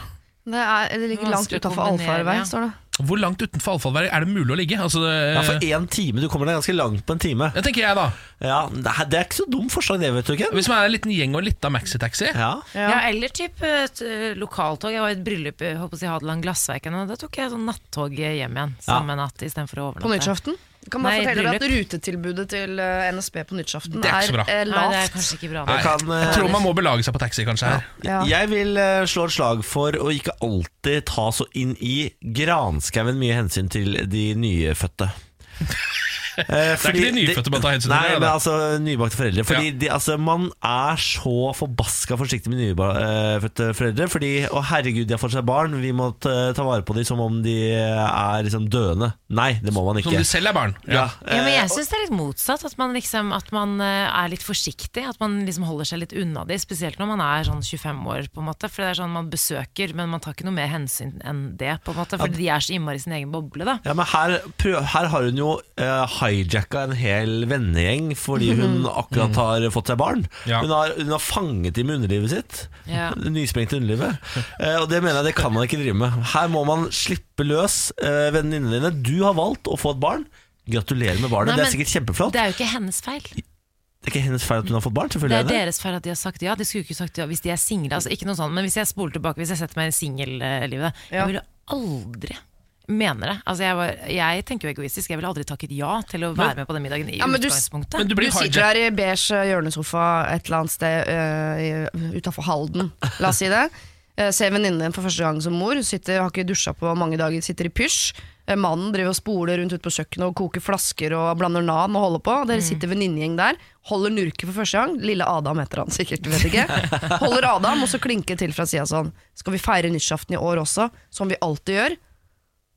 S8: Det, er, det ligger langt
S3: Vanskelig å
S8: utafor
S3: kombinere,
S8: allfarvei,
S3: ja.
S8: står det.
S4: Hvor langt utenfor allfallværet er det mulig å ligge? Altså, det-
S1: Ja, for én time. Du kommer deg ganske langt på en time.
S4: det tenker jeg, da.
S1: Ja, Det er- det er ikke så dumt forslag, det, vet du ikke.
S4: Hvis man er en liten gjeng og en lita maxitaxi.
S1: Ja.
S3: Ja. eller typ et eh, lokaltog. Jeg var i et bryllup i håper å si, Hadeland Glassverken, og da tok jeg sånn nattog hjem igjen samme natt istedenfor å
S8: På
S3: overnatte.
S8: nyttårsaften? Kan man
S3: Nei,
S8: fortelle deg at rutetilbudet til eh, NSB på nyttårsaften
S4: Det er ikke så
S8: er,
S4: bra.
S8: eh,
S3: Nei, det er
S8: lavt?
S3: kanskje ikke bra.
S4: Nei,
S1: Jeg kan, eh,
S4: jeg tror man må belage seg på taxi, kanskje. her
S8: Ja.
S1: Jeg vil eh, slå et slag for å ikke alltid ta så inn i granskauen mye hensyn til de nyfødte. det er
S4: ikke de nyfødte man tar hensyn til,
S1: Nei,
S4: det er det.
S1: men altså nybakte foreldre. Fordi
S4: Ja.
S1: de, altså, man er så forbaska forsiktig med nyfødte foreldre. Fordi å herregud, de har fått seg barn, vi må ta ta vare på dem som om de er liksom døende. Nei, det må man
S4: Som
S1: ikke.
S4: de selv er barn.
S1: Ja,
S3: Ja, men
S1: eh,
S3: jeg syns det er litt motsatt. At man, liksom, at man eh, er litt forsiktig. At man liksom holder seg litt unna de, spesielt når man er sånn 25 år. på en måte For det er sånn man besøker, men man tar ikke noe mer hensyn enn det. på en måte For de er så innmari sin egen boble. da
S1: Ja, men her, prøv, her har hun jo uh, hijacka en hel vennegjeng fordi
S3: Mhm.
S1: hun akkurat har fått seg barn.
S4: Ja.
S1: Hun, har, hun har fanget dem i underlivet sitt.
S3: Ja.
S1: Det Nysprengt underlivet. Eh, og det mener jeg det kan man ikke drive med. Her må man slippe løs uh, venninnene dine. Du har valgt å få et barn. Gratulerer med barnet. det
S3: Nei, men
S1: er sikkert kjempeflott.
S3: Det
S1: Det er,
S3: er jo ikke hennes feil.
S1: ikke hennes feil at hun har fått barn.
S3: Det
S1: selvfølgelig
S3: er deres feil at de har sagt ja. De skulle jo ikke sagt ja hvis de er single. Altså, ikke noe sånt, men hvis jeg spoler tilbake, hvis jeg setter meg i singellivet
S8: Ja.
S3: Jeg ville aldri Mener det. Altså, jeg, var, jeg tenker jo egoistisk. Jeg ville aldri takket ja til å være med på den middagen i
S8: Ja, men du-
S3: utgangspunktet.
S4: Men du
S8: Du
S4: blir
S8: sitter
S4: hijack.
S8: der i beige hjørnesofa et eller annet sted uh, utafor Halden, la oss si det. Eh, ser venninnen din for første gang som mor, sitter, har ikke dusja på mange dager, sitter i pysj. Eh, mannen driver og spoler rundt ute på kjøkkenet og koker flasker og blander nan og holder på.
S4: Mm.
S8: Dere sitter venninnegjeng der, holder nurket for første gang. Lille Adam heter han sikkert, vet ikke. Holder Adam, og så klinker til fra sida sånn. Skal vi feire nyttårsaften i år også, som vi alltid gjør?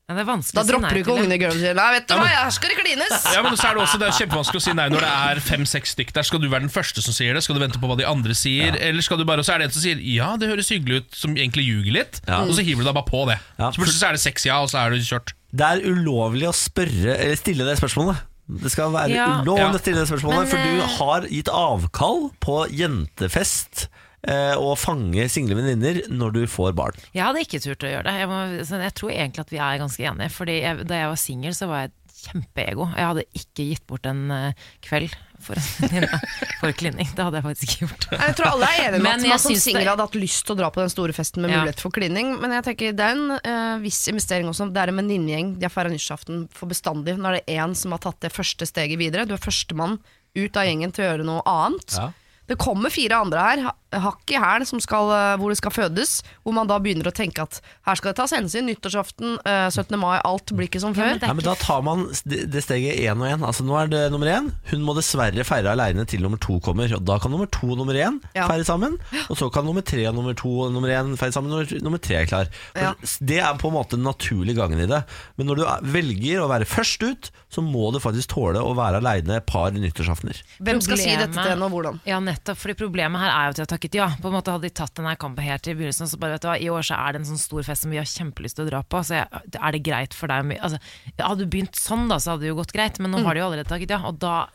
S3: Ja, det er vanskelig
S8: Da
S3: å si nei
S8: dropper du ikke
S3: til det.
S8: ungene i gulvet og sier nei, vet du hva, her skal det klines!
S4: Ja, men så er Det også Det er kjempevanskelig å si nei når det er fem-seks stykk der. Skal du være den første som sier det? Skal du vente på hva de andre sier? Eller skal du bare, så er det en som sier ja, det høres hyggelig ut, som egentlig ljuger litt. Og så hiver du deg bare på det.
S1: Ja.
S4: Så plutselig så er det seks ja, og så er du kjørt.
S1: Det er ulovlig å spørre, eller stille det spørsmålet. Det skal være
S3: Ja.
S1: ulovlig
S4: Ja.
S1: å stille det spørsmålet,
S3: Men,
S1: for du
S3: eh,
S1: har gitt avkall på jentefest eh, og fange single venninner når du får barn.
S3: Jeg hadde ikke turt å gjøre det. Jeg, må, sånn, jeg tror egentlig at vi er ganske enige. Fordi jeg, da jeg var singel, så var jeg et kjempeego. Jeg hadde ikke gitt bort en eh, kveld for en venninne for klining. Det hadde jeg faktisk ikke gjort.
S8: Nei, Jeg tror alle er enige om
S3: Men
S8: at
S3: jeg
S8: man som
S3: syns det-
S8: singel hadde hatt lyst til å dra på den store festen med
S3: Ja.
S8: mulighet for klining, men jeg tenker det er en eh, viss investering også. Det er en venninnegjeng, de har feira nyttårsaften for bestandig. Nå er det én som har tatt det første steget videre. Du er førstemann ut av gjengen til å gjøre noe annet.
S1: Ja.
S8: Det kommer fire andre her, ha- hakk i hæl, som skal, eh, hvor det skal fødes. Hvor man da begynner å tenke at her skal det tas hensyn. Nyttårsaften, eh, 17. mai, alt blir ikke som før.
S3: men det
S1: Nei, men Da tar man det det steget én og én. Altså, nå er det nummer én. Hun må dessverre feire aleine til nummer to kommer. Og Da kan nummer to og nummer én
S8: Ja.
S1: feire sammen. Og så kan nummer tre og nummer to og nummer én feire sammen når nummer tre er klar. For
S8: Ja.
S1: Det er på en måte den naturlige gangen i det. Men når du er- velger å være først ut, så må du faktisk tåle å være aleine et par nyttårsaftener.
S8: Hvem skal si dette
S3: Problemet-
S8: til henne, og hvordan?
S3: Ja, nettopp, fordi Problemet her er jo at de har takket ja. På en måte Hadde de tatt den her kampen helt i begynnelsen, så bare vet du hva, i år så er det en sånn stor fest som vi har kjempelyst til å dra på, så jeg, er det greit for deg? om vi- Altså, hadde du begynt sånn, da, så hadde det jo gått greit,
S8: Mm.
S3: men nå har de jo allerede takket ja, og da,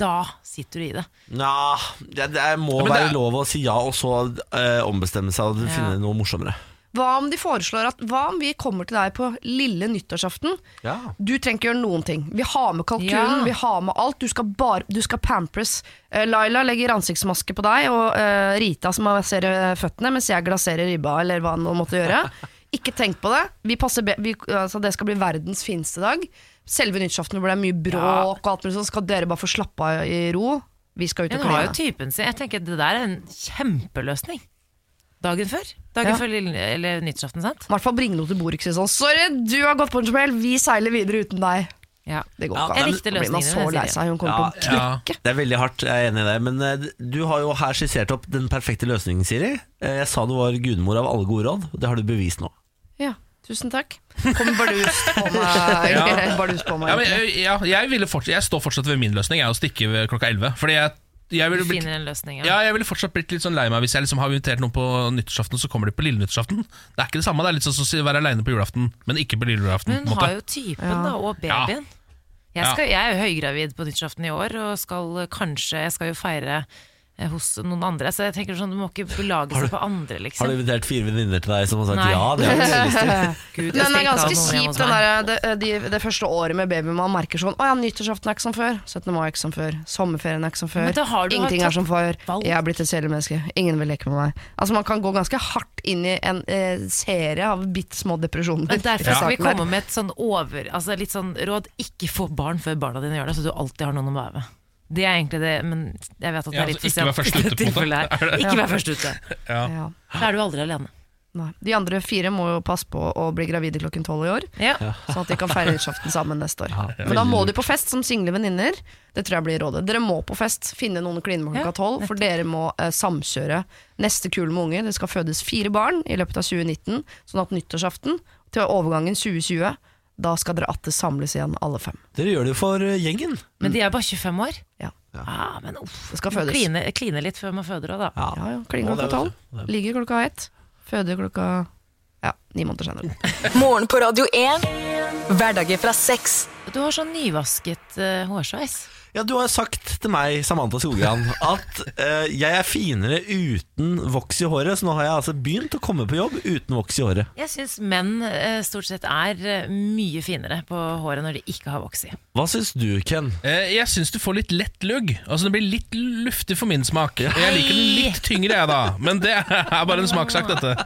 S3: da sitter du i det.
S1: Nja, det, det må
S4: Ja, men det
S1: være
S4: er-
S1: lov å si ja, og så eh, ombestemme seg og
S3: Ja.
S1: finne noe morsommere.
S8: Hva om de foreslår at Hva om vi kommer til deg på lille nyttårsaften?
S1: Ja.
S8: Du trenger ikke gjøre noen ting. Vi har med kalkunen,
S3: Ja.
S8: vi har med alt. Du skal, bare, du skal pampers. Eh, Laila legger ansiktsmaske eh, på deg, og eh, Rita som masserer føttene, mens jeg glaserer ribba, eller hva han nå måtte gjøre. Ikke tenk på det. Vi passer be vi, altså, det skal bli verdens fineste dag. Selve nyttårsaften hvor det er mye bråk, og alt mulig sånn, skal dere bare få slappe av i ro. Vi skal ut
S3: Hun
S8: og
S3: har jo
S8: kline.
S3: typen sin. Jeg tenker Det der er en kjempeløsning. Dagen før. Dagen
S8: Ja.
S3: før lille, eller nyttårsaften, sant?
S8: I hvert fall bringe noe til bordet. Ikke si sånn 'Sorry, du har gått på en smell, vi seiler videre uten deg'.
S3: Ja.
S8: Det går
S1: Ja,
S8: ikke
S1: jeg
S8: an.
S3: likte
S8: Da blir man
S3: løsningen
S8: så
S3: hennes,
S8: lei
S3: Silje.
S8: seg. Hun kommer
S1: Ja,
S8: på å knekke.
S1: Det er veldig hardt, jeg er enig i det. Men eh, du har jo her skissert opp den perfekte løsningen, Siri. Eh, Jeg sa du var gudmor av alle gode råd. Det har du bevist nå.
S8: Ja, tusen takk. Kom bardus på meg.
S4: Ja.
S8: Eller bardus på meg.
S4: Ja, men, jeg, ja, jeg, ville fortsatt, jeg står fortsatt ved min løsning, jeg er å stikke ved klokka 11. Fordi jeg, jeg
S3: Du
S4: ville blitt
S3: finner en løsning.
S4: ja, jeg ville fortsatt blitt litt sånn lei meg hvis jeg liksom har invitert noen på nyttårsaften, og så kommer de på lille nyttårsaften. Det er ikke det samme. Det er litt sånn som å si- være aleine på julaften, men ikke på lille julaften.
S3: Men
S4: på en
S3: hun
S4: måte.
S3: har jo typen da, og
S4: Ja.
S3: babyen. Jeg, skal, jeg er jo høygravid på nyttårsaften i år, og skal eh, kanskje Jeg skal jo feire eh, hos noen andre. Så jeg tenker sånn, du må ikke belage seg på andre,
S1: Har
S3: liksom.
S1: du invitert fire venninner til deg som har sagt
S3: Nei.
S1: ja? Det har jeg lyst til.
S3: Gud, jeg
S8: Den
S3: skal
S8: er
S3: ikke ha
S8: ganske
S3: noen hjemme hos
S8: kjip, den
S3: meg.
S8: der, det, de, det første året med baby. Man merker sånn Å ja, nyttårsaften er ikke som før. 17. mai er ikke som før. Sommerferien er ikke som før.
S3: Men da har du
S8: Ingenting
S3: tatt
S8: er som før.
S3: valg.
S8: Jeg er blitt et kjælemenneske. Ingen vil leke med meg. Altså Man kan gå ganske hardt inn i en eh, serie av bitte små depresjoner.
S3: Men derfor skal vi
S8: Saken der.
S3: komme med et sånn over, altså litt sånn råd. Ikke få barn før barna dine gjør det, så du alltid har noen å være med. Det er egentlig det, men jeg vet at det
S4: Ja,
S3: er litt
S4: altså, ikke vær først ute, på en måte.
S3: tilfellet her.
S4: Er det-
S3: Ikke vær først ute.
S8: ja.
S3: Da er du aldri alene.
S8: Nei. De andre fire må jo passe på å bli gravide klokken tolv i år.
S3: Ja.
S8: Sånn at de kan feire nyttårsaften sammen neste år. Men da må de på fest som single venninner. Det tror jeg blir rådet. Dere må på fest, finne noen å kline med klokka
S3: Ja,
S8: tolv, for dere må eh, samkjøre neste kule med unger. Det skal fødes fire barn i løpet av 2019, sånn at nyttårsaften til overgangen 2020, da skal dere atter samles igjen, alle fem.
S1: Dere gjør det jo for eh, gjengen.
S3: Men de er bare 25 år.
S8: Ja.
S3: Ah, men uff,
S8: Det skal fødes.
S3: Kline, kline litt før man føder òg, da.
S1: Ja.
S8: Ja, ja.
S1: Å,
S8: Kline
S1: det
S8: klokka
S1: er jo
S8: tolv, ligger klokka ett, føder klokka ja, ni måneder senere.
S5: Morgen på Radio 1. Hverdager fra seks.
S3: Du har sånn nyvasket eh, hårsveis.
S1: Ja, du har sagt til meg, Samantha Skogran, at eh, jeg er finere uten voks i håret. Så nå har jeg altså begynt å komme på jobb uten voks i håret.
S3: Jeg syns menn eh, stort sett er eh, mye finere på håret når de ikke har voks i.
S1: Hva syns du, Ken?
S4: Eh, Jeg syns du får litt lett lugg. Altså Det blir litt luftig for min smak. Jeg liker den litt tyngre, jeg, da. Men det er bare en smakssak, dette.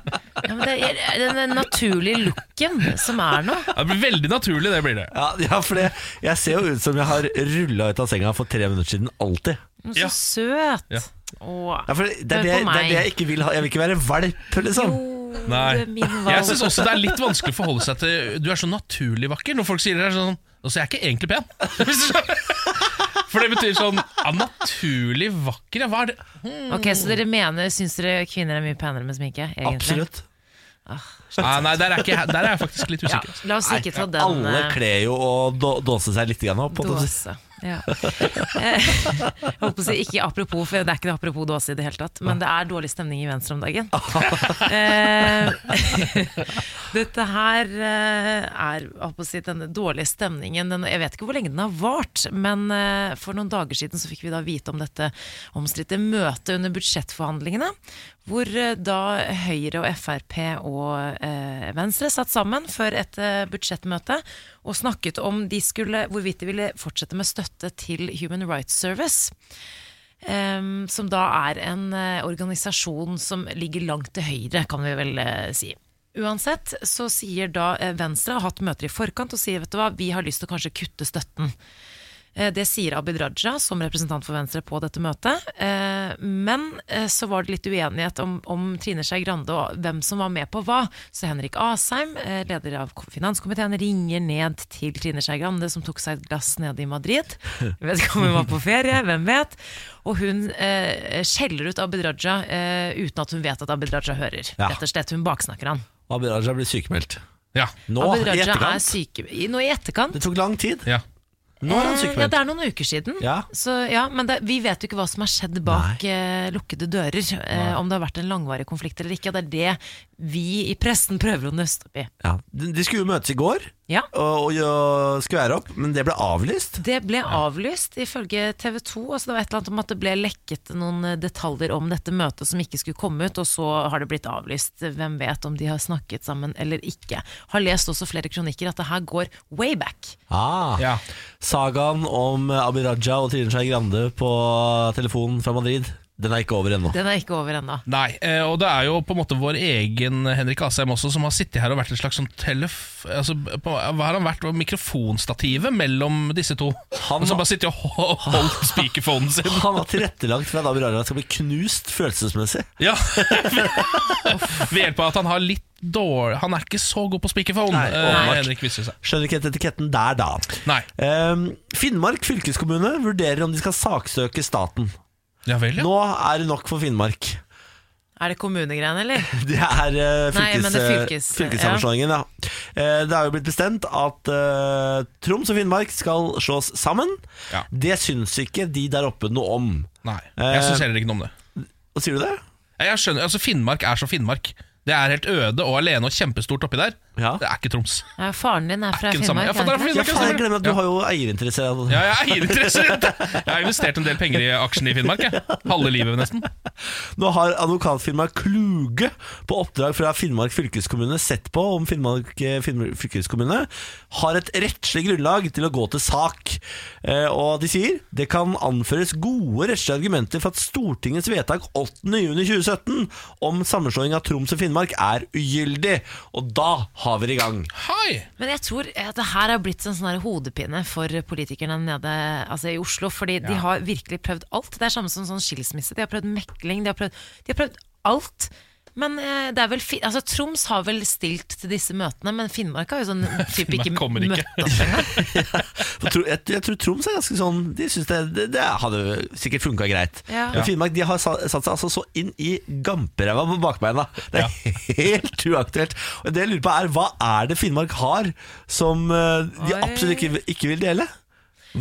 S3: Ja, men det er den naturlige looken som er nå.
S4: Det blir veldig naturlig, det blir det.
S1: Ja, ja for det, jeg ser jo ut som jeg har rulla ut av senga for tre minutter siden, alltid.
S3: Men
S4: Ja.
S3: Så søt.
S4: Ja.
S3: Åh.
S1: Ja, for det, det, er det, jeg-
S3: Hør på
S1: det er
S3: meg.
S1: det jeg ikke vil ha. Jeg vil ikke være valp, liksom.
S4: Nei.
S3: Det er min valg.
S4: Jeg syns også det er litt vanskelig å forholde seg til Du er så naturlig vakker når folk sier det er sånn Altså, jeg er ikke egentlig pen. Hvis du skjønner. For det betyr sånn ja, Naturlig vakker, ja, hva er det?
S3: Ok, Så dere mener, syns dere kvinner er mye penere med sminke? Egentlig?
S1: Absolutt.
S4: Ah, nei, der er, ikke, jeg- der er jeg faktisk litt
S3: Ja,
S4: usikker. altså.
S3: la oss ikke ta
S1: Nei,
S3: den
S1: Alle
S3: eh,
S1: kler jo å då- dåse seg litt grann opp. holdt jeg på å si.
S3: dåse. Ja. Eh, Jeg holdt på å si ikke apropos, for det er ikke noe apropos dåse i det hele tatt, men det er dårlig stemning i Venstre om dagen. Eh, Dette her eh, er jeg holdt på å si, den dårlige stemningen den, Jeg vet ikke hvor lenge den har vart, men eh, for noen dager siden så fikk vi da vite om dette omstridte møtet under budsjettforhandlingene. Hvor eh, da Høyre og Frp og eh, Venstre satt sammen for et eh, budsjettmøte og snakket om de skulle, hvorvidt de ville fortsette med støtte til Human Rights Service. Em, som da er en eh, organisasjon som ligger langt til høyre, kan vi vel eh, si. Uansett så sier da eh, Venstre, har hatt møter i forkant og sier vet du hva, vi har lyst til å kanskje kutte støtten. Eh, Det sier Abid Raja som representant for Venstre på dette møtet. Eh, Men eh, så var det litt uenighet om, om Trine Skei Grande og hvem som var med på hva. Så Henrik Asheim, eh, leder av finanskomiteen, ringer ned til Trine Skei Grande, som tok seg et glass nede i Madrid. Jeg vet ikke om hun var på ferie, hvem vet. Og hun eh, skjeller ut Abid Raja eh, uten at hun vet at Abid Raja hører.
S1: Ja.
S3: Rett og slett, hun baksnakker han.
S1: Abid Raja blir sykemeldt.
S4: Ja.
S1: Nå, i
S3: Abid Raja er
S1: etterkant.
S3: syke... i- Nå i etterkant
S1: Det tok lang tid.
S4: ja.
S1: Nå er han
S3: Eh, Ja,
S1: sykemeldt.
S3: det er noen uker siden.
S1: Ja.
S3: Så, ja, men det, vi vet jo ikke hva som har skjedd bak eh, lukkede dører. Eh, om det har vært en langvarig konflikt eller ikke. og Det er det vi i pressen prøver å nøste opp i.
S1: Ja. De de skulle jo møtes i går
S3: Ja.
S1: og, og gjø- skvære opp, men det ble avlyst.
S3: Det ble avlyst ifølge TV 2. Altså det var et eller annet om at det ble lekket noen eh, detaljer om dette møtet som ikke skulle komme ut, og så har det blitt avlyst. Hvem vet om de har snakket sammen eller ikke. Har lest også flere kronikker at det her går way back.
S1: Ah.
S4: Ja.
S1: Sagaen om Abid Raja og Trine Skei Grande på telefon fra Madrid Den er ikke over ennå.
S3: Den er ikke over ennå.
S4: Nei, eh, og det er jo på en måte vår egen Henrik Asheim også, som har sittet her og vært et slags sånn telef... Altså, på, hva har han vært? Mikrofonstativet mellom disse to.
S1: Han-
S4: Han som bare sitter og ho- holdt speakerphonen sin.
S1: Han har tilrettelagt for at Abu Raja skal bli knust følelsesmessig.
S4: Ja. Ved hjelp av at han har litt dårlig Han er ikke så god på speakerphone,
S1: Nei,
S4: eh,
S1: åpenbart.
S4: Henrik viser seg.
S1: Skjønner ikke helt etiketten der, da.
S4: Nei.
S1: Ehm, Finnmark fylkeskommune vurderer om de skal saksøke staten.
S4: Ja vel, ja.
S1: Nå er det nok for Finnmark.
S3: Er det kommunegreiene, eller?
S1: Det er eh,
S3: Nei,
S1: fylkes,
S3: men det er fylkes-
S1: eh, fylkessammenslåingen, ja. Eh, det er jo blitt bestemt at eh, Troms og Finnmark skal slås sammen.
S4: Ja.
S1: Det syns ikke de der oppe noe om.
S4: Nei. Jeg syns heller ikke noe om det.
S1: Og sier du det?
S4: Jeg skjønner, altså Finnmark er så Finnmark. Det er helt øde og alene og kjempestort oppi der.
S1: Ja.
S4: Det er ikke Troms.
S3: Ja, faren din er fra
S4: ikke den samme.
S3: Finnmark. er
S4: Ja,
S3: han
S4: faren er fra
S3: ikke det?
S1: Ja, faen, jeg glemmer at du
S4: Ja.
S1: har jo eierinteresse.
S4: Ja, jeg er eierinteresser! Jeg har investert en del penger i aksjene i Finnmark. Jeg. Halve livet, nesten.
S1: Nå har advokatfirmaet Kluge på oppdrag fra Finnmark fylkeskommune sett på om Finnmark, eh, Finnmark fylkeskommune har et rettslig grunnlag til å gå til sak. Eh, og de sier det kan anføres gode rettslige argumenter for at Stortingets vedtak 8.6.2017 om sammenslåing av Troms og Finnmark er ugyldig. Og da har vi det i gang.
S4: Hei!
S3: Men jeg tror at det her har blitt en sånn her hodepine for politikerne nede altså i Oslo. Fordi de har virkelig prøvd alt. Det er samme som sånn skilsmisse. De har prøvd mekling, de har prøvd, de har prøvd alt. Men eh, det er vel fi altså, Troms har vel stilt til disse møtene, men Finnmark har jo sånn typ
S4: Finnmark
S3: ikke
S4: kommer ikke.
S3: møtt opp engang.
S1: For tro- Jeg, jeg tror Troms er ganske sånn De synes det, det, det hadde sikkert funka greit.
S3: Ja.
S1: Men Finnmark de har sa- satt seg altså så inn i gamperæva på bakbeina. Det er helt uaktuelt. Og det jeg lurer på er, Hva er det Finnmark har som eh, de
S3: Oi.
S1: absolutt ikke, ikke vil dele?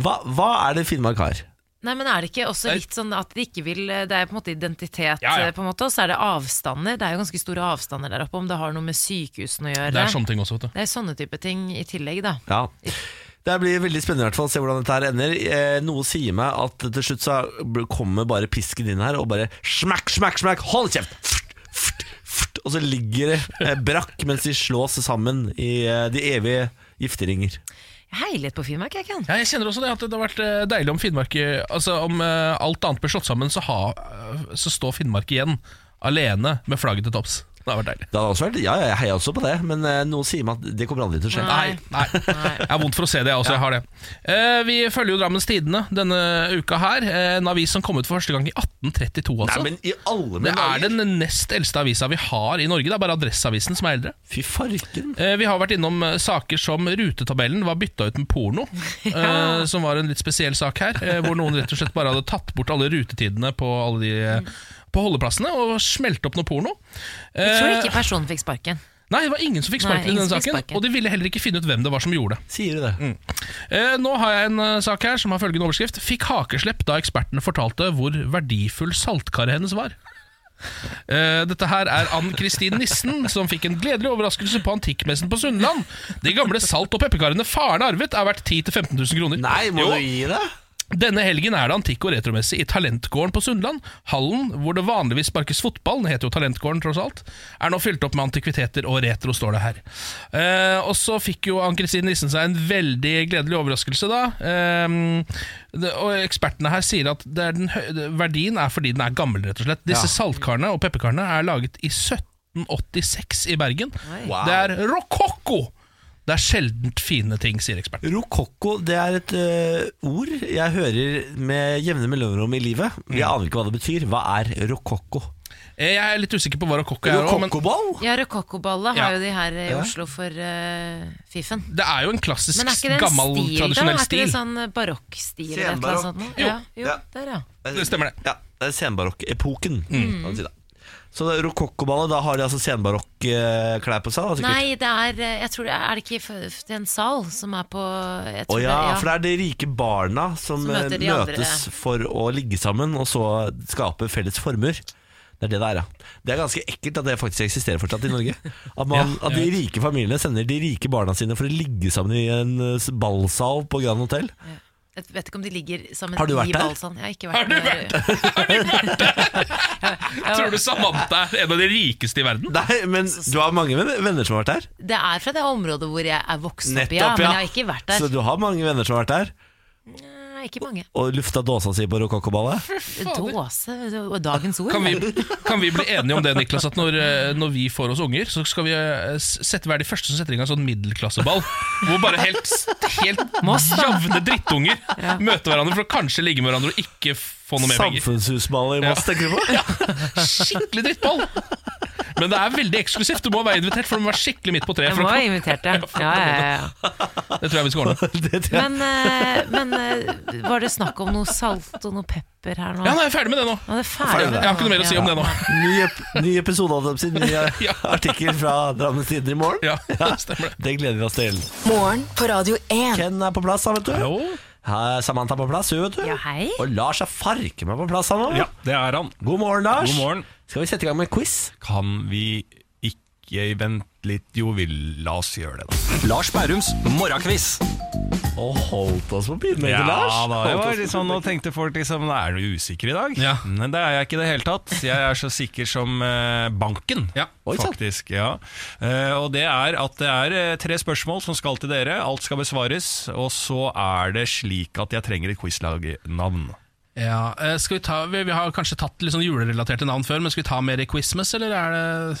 S1: Hva, hva er det Finnmark har?
S3: Nei, men er det ikke også litt sånn at de ikke vil Det er på en måte identitet,
S4: Ja, ja.
S3: eh, på en måte, og så er det avstander. Det er jo ganske store avstander der oppe, om det har noe med sykehusene å gjøre.
S4: Det er sånn- sånne ting også, vet du.
S3: Det er sånne type ting i tillegg, da.
S1: Ja det blir veldig spennende i hvert fall å se hvordan dette her ender. Eh, noe sier meg at til slutt så bl- kommer bare pisken inn her og bare smakk, smakk, smakk, hold kjeft! Frt, frt, frt, og så ligger det eh, brakk mens de slås sammen i eh, de evige gifteringer.
S3: Jeg heier litt på Finnmark, jeg, Ken.
S4: Ja, jeg kjenner også det at det har vært eh, deilig om Finnmark eh, Altså om eh, alt annet blir slått sammen, så, ha, eh, så står Finnmark igjen alene med flagget til topps. Det har vært deilig.
S1: Det hadde også vært, ja, ja, jeg heier også på det, men eh, noe sier meg at det kommer aldri til å skje.
S4: Nei, nei. Jeg har vondt for å se det, jeg også. Jeg har det. Eh, vi følger jo Drammens Tidende denne uka her. eh, en avis som kom ut for første gang i 1832, altså.
S1: Nei, men i alle
S4: det
S1: mine
S4: er
S1: dager!
S4: den nest eldste avisa vi har i Norge. Det er bare Adresseavisen som er eldre.
S1: Fy farken!
S4: Eh, Vi har vært innom eh, saker som rutetabellen var bytta ut med porno. eh, Som var en litt spesiell sak her, eh, hvor noen rett og slett bare hadde tatt bort alle rutetidene på alle de eh,
S3: Mm.
S4: på holdeplassene og smelt opp noe porno.
S3: Jeg tror
S4: Eh,
S3: ikke personen fikk sparken.
S4: Nei, det var ingen som fikk
S3: Nei,
S4: sparken i
S3: ingen
S4: denne
S3: som fikk
S4: saken.
S3: sparken.
S4: Og de ville heller ikke finne ut hvem det var som gjorde det.
S1: Sier du det?
S4: Eh, nå har jeg en eh, sak her som har følgende overskrift. Fikk hakeslepp da ekspertene fortalte hvor verdifull saltkaret hennes var. Eh, dette her er Ann-Kristin Nissen, som fikk en gledelig overraskelse på antikkmessen på Sunnland. De gamle salt- og pepperkarene faren arvet, er verdt 10 000-15 000 kroner.
S1: Nei, må
S4: Jo.
S1: du gi deg?
S4: Denne helgen er det antikk- og retromesse i Talentgården på Sundland. Hallen hvor det vanligvis sparkes fotball, den heter jo Talentgården tross alt, er nå fylt opp med antikviteter og retro, står det her. Eh, og så fikk jo Ann-Kristin Nissen seg en veldig gledelig overraskelse, da. Eh, det, og ekspertene her sier at det er den hø verdien er fordi den er gammel, rett og slett. Disse saltkarene og pepperkarene er laget i 1786 i Bergen.
S1: Wow.
S4: Det er rokokko! Det er sjeldent fine ting, sier eksperten.
S1: Rokokko det er et ø, ord jeg hører med jevne mellomrom i livet.
S4: Mm.
S1: Jeg aner ikke hva det betyr. Hva er rokokko?
S4: Eh, Jeg er litt usikker på hva rokokko er. også, men-
S1: Rokokkoball?
S3: Ja, Rokokkoballet
S4: Ja.
S3: har jo de her i
S1: Ja.
S3: Oslo for eh, Fifen.
S4: Det er jo en klassisk,
S3: Men er ikke det en
S4: gammel,
S3: stil, da?
S4: tradisjonell
S3: Er ikke det
S4: stil.
S3: sånn barokkstil? eller et eller annet
S1: Senbarokk.
S3: sånt?
S1: Jo.
S3: Ja, jo,
S1: Ja.
S3: der, ja.
S4: Det Mm. stemmer det.
S1: Ja, det er senbarokk-epoken. kan man si da. Så det er rokokkoballet, da har de altså senbarokk-klær på seg? Da, sikkert.
S3: Nei, det er eh, jeg tror, det Er det ikke f- f- det er en sal som er på jeg
S1: Å
S3: tror
S1: ja,
S3: det-
S1: for det er de rike barna som,
S3: Som møter
S1: eh,
S3: de andre.
S1: møtes for å ligge sammen, og så skape felles former. Det er det det er, ja. Det er ganske ekkelt at det faktisk eksisterer fortsatt i Norge. At, man,
S4: Ja,
S1: at de rike familiene sender de rike barna sine for å ligge sammen i en eh, ballsal på Grand Hotel.
S3: Jeg vet ikke om de ligger sammen
S1: Har du vært
S3: i
S1: der?
S3: Balsand. Jeg har ikke vært
S4: Har du vært
S3: der?
S4: Tror du Samantha er en av de rikeste i verden?
S1: Nei, men du har mange venner- venner som har vært der.
S3: Det er fra det området hvor jeg er vokst opp i, ja, men jeg har ikke vært der.
S1: Så du har mange venner som har vært der.
S3: Nei, Nei, ikke mange.
S1: Og lufta dåsa si på rokokkoballet?
S3: Dåse og dagens ord.
S4: Kan vi, kan vi bli enige om det, Niklas, at når, eh, når vi får oss unger, så skal vi eh, s- sette, være de første som setter i gang sånn middelklasseball, hvor bare helt, helt
S3: Moss, da.
S4: javne drittunger møter hverandre for å kanskje ligge med hverandre og ikke få noe mer penger.
S1: Samfunnshusballet i Moss, tenker du på?
S4: Skikkelig drittball! Men det er veldig eksklusivt. Du må være invitert, for du må være skikkelig midt på treet.
S3: Jeg
S4: For
S3: må
S4: å
S3: ha
S4: komme.
S3: invitert deg. Ja, ja, ja.
S4: Det tror jeg vi skal ordne.
S1: Det tror jeg.
S3: Men, eh, men eh, var det snakk om noe salt og noe pepper her nå?
S4: Ja, nå er jeg ferdig med det nå.
S3: Nå er det ferdig med
S4: Jeg har ikke noe mer å si om det nå.
S1: Ny, ep- ny episode av dem sin, ny eh,
S4: Ja.
S1: artikkel fra Drammens Tidende i morgen.
S4: Ja, stemmer det.
S1: Det gleder vi oss til.
S5: Morgen på Radio 1.
S1: Ken er på plass, da, vet du.
S9: Jo,
S1: Her er Samantha på plass, hun, vet du.
S3: Ja, hei.
S1: Og Lars er farke meg på plass, han òg.
S9: ja, det er han.
S1: God morgen, Lars.
S9: God morgen.
S1: Skal vi sette i gang med quiz?
S9: Kan vi ikke vente litt? Jo, vi la oss gjøre det, da.
S10: Lars Bærums morgenkviss.
S1: Og holdt oss på pinnen,
S9: Ja,
S1: egentlig, Lars.
S9: da, jeg
S1: Holdt
S9: var
S1: oss
S9: litt
S1: på
S9: sånn,
S1: pinnen.
S9: Nå tenkte folk liksom "Nei, Er du usikker i dag?
S4: Ja.
S9: Men det er jeg ikke i det hele tatt. Jeg er så sikker som eh, banken,
S4: Ja.
S1: Oi, sant.
S9: faktisk. Ja. Eh, og det er at det er eh, tre spørsmål som skal til dere. Alt skal besvares. Og så er det slik at jeg trenger et quizlagnavn.
S4: Ja, eh, skal Vi ta, vi, vi har kanskje tatt litt sånn julerelaterte navn før, men skal vi ta mer i Quizmas, eller er det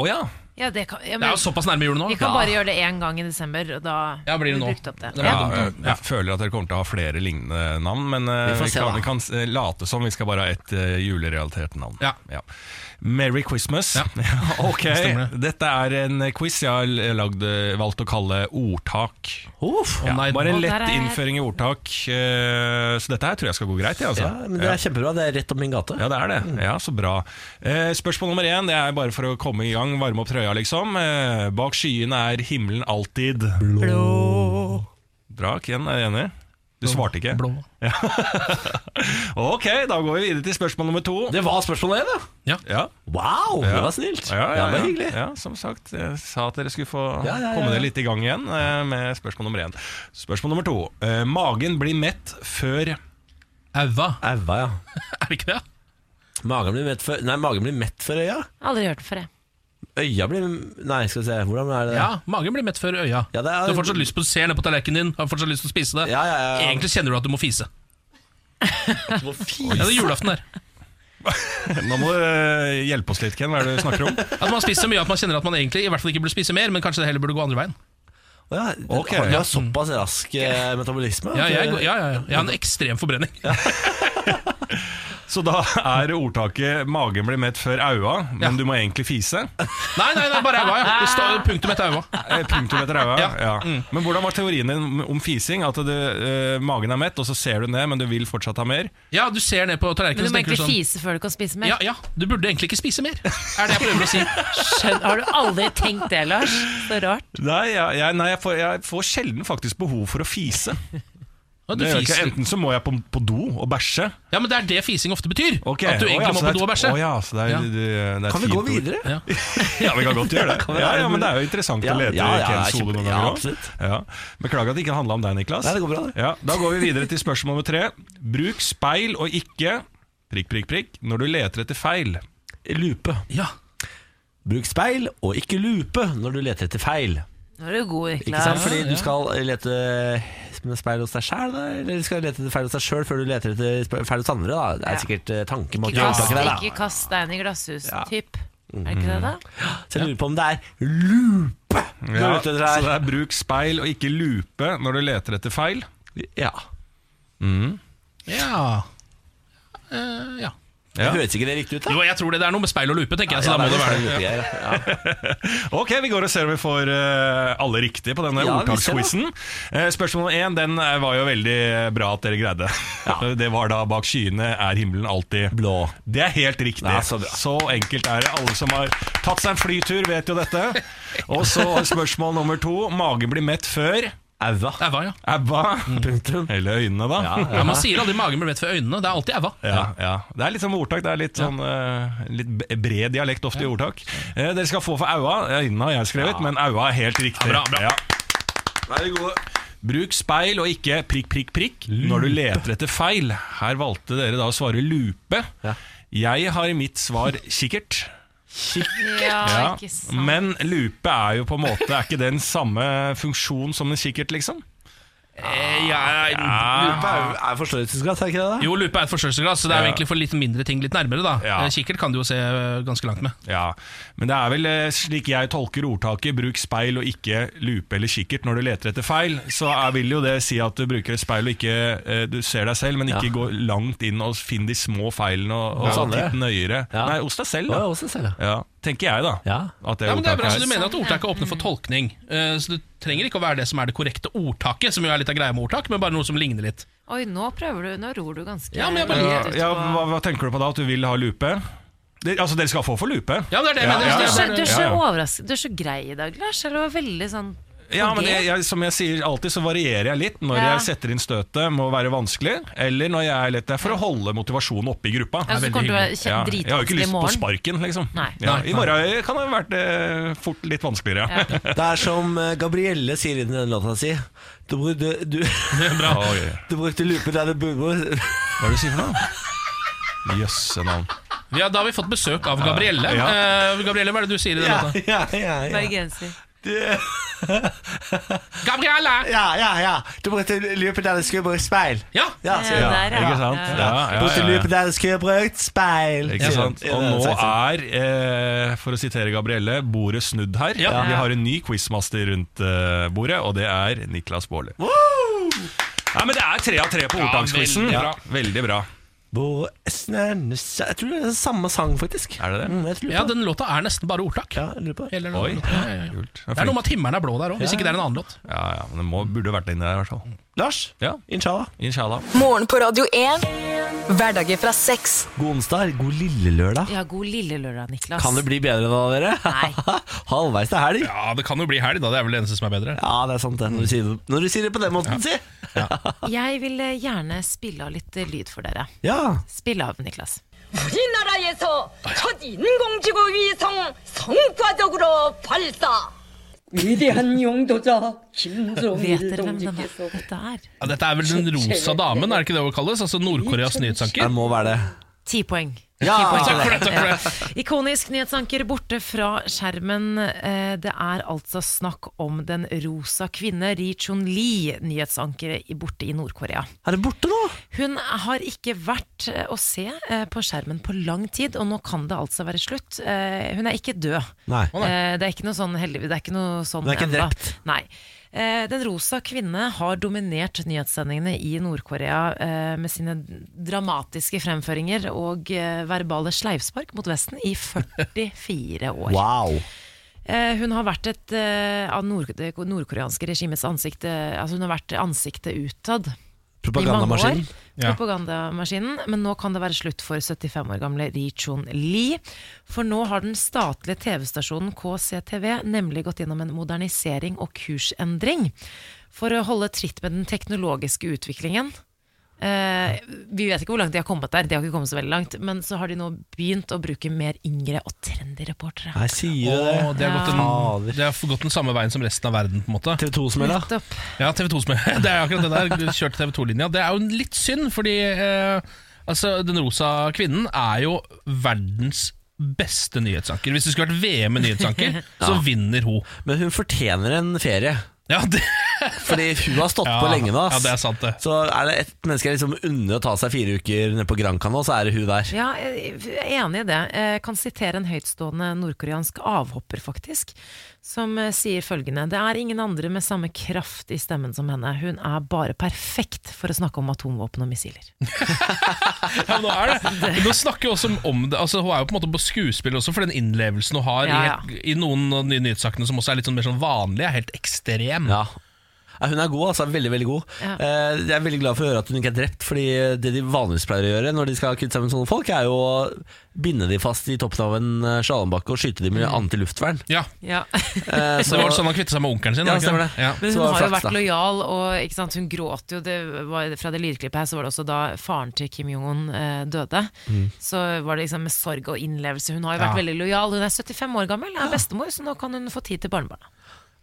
S9: Å ja.
S3: Ja, det, kan, ja,
S4: Det
S3: men,
S4: er jo såpass nærme jul nå.
S3: vi kan bare gjøre det én gang i desember, og da
S4: Ja, blir det
S3: har vi
S4: nå.
S3: brukt opp det.
S4: Det blir
S9: Ja,
S4: dumt,
S9: jeg, jeg føler at dere kommer til å ha flere lignende navn, men eh,
S1: Vi får
S9: vi,
S1: se, da.
S9: kan, vi kan eh, late som vi skal bare ha ett eh, julerelatert navn.
S4: Ja.
S9: Merry Christmas.
S4: Ja.
S9: ok,
S4: Stemmer
S9: dette er en quiz jeg har l- lagd, eh, valgt å kalle ordtak.
S1: Uff.
S9: Ja,
S4: nei,
S9: bare en
S3: å, der
S9: lett
S3: er-
S9: innføring i ordtak, eh, så dette her tror jeg skal gå greit. jeg,
S1: Ja,
S9: altså.
S1: men det er kjempebra. Det er rett om min gate.
S9: Ja, det er det. Ja, Så bra. Eh, spørsmål nummer én, det er bare for å komme i gang, varme opp trøya, liksom. Eh, bak skyene er himmelen alltid blå. Drak igjen, er jeg enig? Du svarte ikke.
S4: Blå.
S9: Ok, da går vi videre til spørsmål nummer to.
S1: Det var spørsmålet én, da.
S9: Ja,
S1: Wow, det var snilt.
S9: ja, ja, ja,
S1: det var hyggelig.
S9: Ja, som sagt, jeg sa at dere skulle få
S1: Ja, ja, ja,
S9: komme
S1: ja.
S9: dere litt i gang igjen eh, med spørsmål nummer én. Spørsmål nummer to. Eh, magen blir mett før
S4: Aua,
S1: Aua, ja.
S4: er det ikke det?
S1: Magen blir mett før Nei, magen blir mett før øya.
S3: Aldri hørt det før, jeg.
S1: Øya blir Nei, skal vi se. Hvordan er det?
S4: Ja, Magen blir mett før øya.
S1: Ja, det er-
S4: Du har fortsatt lyst på å se ned på tallerkenen din. Har fortsatt lyst til å spise det
S1: Ja, ja, ja, ja.
S4: Egentlig kjenner du at du må fise. Ja, det er julaften der.
S9: Nå må du eh, hjelpe oss litt, Ken. Hva er det du snakker om?
S4: At man spiser så mye at man kjenner at man egentlig i hvert fall ikke burde spise mer, men kanskje det heller burde gå andre veien.
S1: Å ja,
S9: Ok,
S1: har du
S9: ja.
S1: såpass rask eh, metabolisme?
S4: Ja,
S1: at
S4: jeg,
S1: du-
S4: ja, ja, ja. jeg har en ekstrem forbrenning.
S9: Så da er ordtaket 'magen blir mett før aua', men
S4: Ja.
S9: du må egentlig fise.
S4: Nei, nei, nei, bare aua. Ja. Det står punktum etter aua.
S9: Eh, Punktum etter aua. Ja.
S4: Ja.
S9: Men hvordan var teorien din om- om fising? At det, eh, magen er mett, og så ser du ned, men du vil fortsatt ha mer?
S4: Ja, du ser ned på
S3: Men
S4: tallerkenen
S3: du
S4: så
S3: må
S4: tenker
S3: egentlig
S4: du sånn
S3: fise før du kan spise mer.
S4: ja, ja, du burde egentlig ikke spise mer, er det jeg prøver å si.
S3: Skjønn, har du aldri tenkt det, Lars? Så rart.
S9: Nei, jeg, jeg, nei jeg, får, jeg får sjelden faktisk behov for å fise.
S4: Ja, du
S9: Det gjør jeg ikke.
S4: fiser.
S9: Enten så må jeg på, på do og bæsje.
S4: Ja, men Det er det fising ofte betyr.
S9: Ok,
S4: At du
S9: å ja,
S4: egentlig
S9: så
S4: må på
S9: det er-
S4: do og bæsje.
S9: å ja, så det er,
S4: Ja.
S9: det, det er eh,
S1: Kan vi gå
S9: fint ord.
S1: videre?
S4: Ja.
S9: Ja, vi kan godt gjøre det.
S1: Kan vi
S9: ja,
S1: være-
S9: ja, men Det er jo interessant
S1: Ja,
S9: å lete
S1: ja,
S9: i
S1: ja,
S9: Kens
S1: kjempe-
S9: hode noen
S1: ja,
S9: ganger
S1: absolutt.
S9: òg. Ja. Beklager at det ikke handla om deg, Niklas.
S1: Nei, det går bra, det.
S9: Ja, da går vi videre til spørsmål nummer tre. Bruk speil og ikke prikk, prikk, prikk når du leter etter feil.
S1: Lupe.
S4: Ja.
S1: Bruk speil, og ikke lupe når du leter etter feil.
S3: Nå er du god,
S1: Ikke sant?
S3: Niklas.
S1: Fordi
S4: ja.
S1: du skal lete med speil hos deg sjæl, da? Eller du skal lete etter feil hos deg sjøl før du leter etter spe- feil hos andre, da? Det
S3: Ja.
S1: er sikkert eh, tanken bak
S3: Ikke kast,
S1: ordtaket der, da. Mhm.
S3: ikke kast stein i glasshus-typ. Er det ikke det, da?
S1: Så jeg lurer på om det er lupe du
S9: Ja,
S1: leter
S9: så
S1: etter
S9: det
S1: her.
S9: er bruk speil og ikke lupe når du leter etter feil.
S1: Ja.
S4: Ja. Eh, ja.
S9: Ja.
S1: Høres ikke det riktig ut, da?
S4: Jo, jeg tror det, det er noe med speil og lupe, tenker jeg. Så da må det være det.
S1: det. Ja.
S9: Ok, vi går og ser om vi får eh, alle riktige på
S1: Ja,
S9: denne
S1: vi ser det.
S9: ordtaksquizen. Eh, spørsmål én den eh, var jo veldig bra at dere greide. det var da 'bak skyene er himmelen alltid
S1: Blå.
S9: Det er helt riktig.
S1: Ja,
S9: så,
S1: så bra.
S9: enkelt er det. Alle som har tatt seg en flytur, vet jo dette. Og så spørsmål nummer to. Magen blir mett før
S1: Aua.
S4: Æva, ja.
S9: æbba.
S1: Punktum.
S9: Eller øynene, da.
S1: Ja,
S4: ja. Man sier aldri magen blir mett for øynene. Det er alltid æva.
S9: Ja, ja. Det er litt sånn ordtak. Det er litt, sånn, eh, litt b- bred dialekt ofte i ordtak. Eh, dere skal få for aua. Øynene har jeg skrevet, men aua er helt riktig.
S4: Ja, bra, bra.
S9: Ja. Vær så god. Bruk speil og ikke prikk, prikk, prikk når du leter etter feil. Her valgte dere da å svare lupe.
S1: Ja.
S9: Jeg har i mitt svar kikkert.
S3: Ja,
S9: Ja,
S3: ikke sant.
S9: men lupe er jo på en måte Er ikke det den samme funksjon som en kikkert, liksom?
S4: ja,
S1: Lupe er, er forstørrelsesglass, er ikke det? da?
S4: Jo, lupe er et forstørrelsesglass, så det er jo
S9: Ja.
S4: egentlig for litt mindre ting litt nærmere. da
S9: Ja.
S4: Eh, Kikkert kan du jo se eh, ganske langt med.
S9: Ja, Men det er vel eh, slik jeg tolker ordtaket 'bruk speil og ikke lupe eller kikkert' når du leter etter feil, så er, vil jo det si at du bruker et speil og ikke eh, Du ser deg selv, men ikke
S1: Ja.
S9: gå langt inn og finn de små feilene og, og
S1: Hos andre.
S9: titt nøyere.
S1: Ja.
S9: Nei, hos deg selv,
S1: Å,
S9: da.
S1: ja, hos deg selv, ja.
S9: Ja, tenker jeg, da.
S1: Ja.
S9: At det
S4: Ja, men det er bra, så Du
S9: ordtaket her.
S4: mener at ordtaket åpner
S1: Mm.
S4: for tolkning. Eh, Så Du trenger ikke å være det som er det korrekte ordtaket, som jo er litt av greia med ordtak, men bare noe som ligner litt.
S3: Oi, nå prøver du, nå ror du ganske
S4: Ja, men jeg bare-
S9: ja,
S3: rett ut
S9: ja,
S3: på-
S9: hva, hva tenker du på da? At du vil ha lupe? Det, altså, dere skal få for lupe.
S4: Ja, men det er det jeg
S9: Ja,
S4: mener.
S9: ja,
S3: Du er
S4: så
S3: så,
S4: det er
S3: du
S4: bare-
S3: er så overrasket Du er så grei i dag, Lars. Eller var veldig sånn
S9: Ja, men
S3: Ok.
S9: jeg, jeg, som jeg sier alltid, så varierer jeg litt når
S3: Ja.
S9: jeg setter inn støtet, må være vanskelig, eller når jeg er lett der for å holde motivasjonen oppe i gruppa.
S3: Ja, så
S4: veldig
S3: kommer du til å være
S9: Ja,
S3: kje-
S9: jeg har jo ikke
S3: dritvanskelig i
S9: lyst på
S3: morgen.
S9: sparken, liksom.
S3: Nei.
S9: Ja,
S4: Nei,
S9: I morgen kan det ha vært eh, fort litt vanskeligere. Ja.
S1: Det er som eh, Gabrielle sier i den låta si. Du, bru- du, du,
S9: Bra. Oi,
S1: du brukte lupe der du burde
S9: hva er det du sier for noe? Jøsse navn.
S4: Ja, da har vi fått besøk av Gabrielle. Eh, Gabrielle, Hva er det du sier i den
S1: ja,
S4: låta?
S1: ja, ja, ja.
S3: Bergenser.
S1: Du,
S4: Gabrielle!
S1: ja, ja, ja. Du brukte lupe der du skulle brukt speil.
S4: Ja,
S1: Ja, sier
S3: Ja,
S1: hun.
S3: Eh, der,
S9: Ikke sant?
S3: Ja.
S9: Ja,
S1: Du
S9: ja,
S1: brukte
S9: ja,
S1: lupe der du skulle brukt speil.
S9: Ikke sant?
S1: Ja,
S9: Og
S1: det er
S9: nå
S1: sant.
S9: er, eh, for å sitere Gabrielle, bordet snudd her.
S4: Ja.
S9: Vi har en ny quizmaster rundt eh, bordet, og det er Niklas Baarli. Nei, men det er tre av tre på ordtaksquizen.
S4: veldig bra.
S9: veldig bra.
S1: Hvor snøen Jeg tror det er samme sang, faktisk.
S9: Er det det?
S1: Mm, jeg tror
S4: ja, den låta er nesten bare ordtak.
S1: ja, jeg lurer på det.
S4: Hele
S9: Oi.
S4: låta. Ja, ja, ja.
S9: Kult.
S4: Det er noe med at himmelen er blå der òg, hvis ikke det er en annen låt.
S9: Ja, ja, men det må, burde vært inni der, i hvert fall.
S1: Lars,
S9: Ja.
S1: inshallah.
S9: Inshallah.
S5: Morgen på Radio 1. Hverdager fra seks.
S1: God onsdag, god lille lørdag.
S3: ja, god lille lørdag, Niklas.
S1: Kan det bli bedre da, dere?
S3: Nei.
S1: Halvveis til helg.
S4: Ja, Det kan jo bli helg, da. Det er vel det eneste som er bedre.
S1: Ja, det er sant det. Når du sier det, når du sier det på den måten, si.
S3: Jeg vil eh, gjerne spille av litt eh, lyd for dere.
S1: Ja.
S3: Spill av, Niklas.
S6: 우리나라에서 첫 인공지구 위성 성과적으로 발사. 위대한 용도자
S3: Vet
S6: 김정일
S3: dere hvem denne, dette er?
S4: Ja, dette er vel Den rosa damen, er det ikke det hun kalles? Altså Nord-Koreas
S1: Det
S4: nyhetsanker.
S1: må være det.
S3: Ti poeng.
S1: Ja!
S4: Takk for det, takk for det.
S3: Ikonisk nyhetsanker borte fra skjermen. Eh, Det er altså snakk om den rosa kvinne Ri Chun-li, nyhetsankere i- borte i Nord-Korea.
S1: Er det borte nå?
S3: Hun har ikke vært eh, å se eh, på skjermen på lang tid, og nå kan det altså være slutt. Eh, Hun er ikke død.
S1: Nei.
S3: Eh, Det er ikke noe sånn heldigvis. Det er ikke noe sånn
S1: Hun er ikke
S3: enda.
S1: drept.
S3: Nei. Eh, Den rosa kvinne har dominert nyhetssendingene i Nord-Korea eh, med sine dramatiske fremføringer og eh, verbale sleivspark mot Vesten i 44 år.
S1: Wow.
S3: Eh, Hun har vært et eh, av nord det nordkoreanske regimets ansikt eh, Altså hun har vært ansiktet utad
S1: Propagandamaskinen.
S3: i mange år. Propagandamaskinen. Men nå kan det være slutt for 75 år gamle Ri Chun-li. For nå har den statlige TV-stasjonen KCTV nemlig gått gjennom en modernisering og kursendring. For å holde tritt med den teknologiske utviklingen. Eh, vi vet ikke hvor langt de har kommet der, de har ikke kommet så veldig langt. Men så har de nå begynt å bruke mer yngre og trendy reportere.
S1: Nei, sier det.
S4: Å, det, har gått en,
S1: Fader.
S4: det har gått den samme veien som resten av verden. på en måte
S1: TV 2-smella.
S3: Nettopp.
S4: Ja, TV2 som er Det er akkurat det der. Kjørte TV2-linja. Det er jo litt synd, fordi eh, altså, den rosa kvinnen er jo verdens beste nyhetsanker. Hvis det skulle vært VM i nyhetsanker, så vinner hun.
S1: Men hun fortjener en ferie.
S4: Ja, det,
S1: Fordi hun har stått
S4: Ja,
S1: på lenge nå. ass.
S4: ja, det er sant, det.
S1: Så er det et menneske jeg liksom unner å ta seg fire uker ned på Granca nå, så er det hun der.
S3: Ja, jeg er enig i det. Jeg kan sitere en høytstående nordkoreansk avhopper, faktisk, som eh, sier følgende Det er ingen andre med samme kraft i stemmen som henne. Hun er bare perfekt for å snakke om atomvåpen og missiler.
S4: ja, men nå er det. Men Nå snakker vi også om- om det. Altså, hun er jo på en måte på skuespill også, for den innlevelsen hun har
S3: Ja,
S4: I, i noen av de nye nyhetssakene som også er litt sånn mer sånn vanlige, er helt ekstrem.
S1: Ja. Ja, Hun er god, altså. Veldig, veldig god.
S3: Ja.
S1: Eh, Jeg er veldig glad for å høre at hun ikke er drept, Fordi det de vanligvis pleier å gjøre når de skal kutte sammen sånne folk, er jo å binde de fast i toppen av en eh, slalåmbakke og skyte de med antiluftvern.
S4: Ja,
S3: Ja.
S1: Eh,
S4: så Mm. det var sånn han kvittet seg med onkelen sin.
S1: Ja,
S4: var ikke
S1: stemmer det.
S4: Ja.
S3: Men
S1: Så
S3: hun
S1: var
S3: har jo
S1: flaks,
S3: vært
S1: da.
S3: lojal, og ikke sant, hun gråt jo. Det var, fra det lydklippet her så var det også da faren til Kim Jong-un eh, døde.
S1: Mm.
S3: Så var det liksom med sorg og innlevelse. Hun har jo vært
S4: Ja.
S3: veldig lojal. Hun er 75 år gammel, er bestemor, så nå kan hun få tid til barnebarna.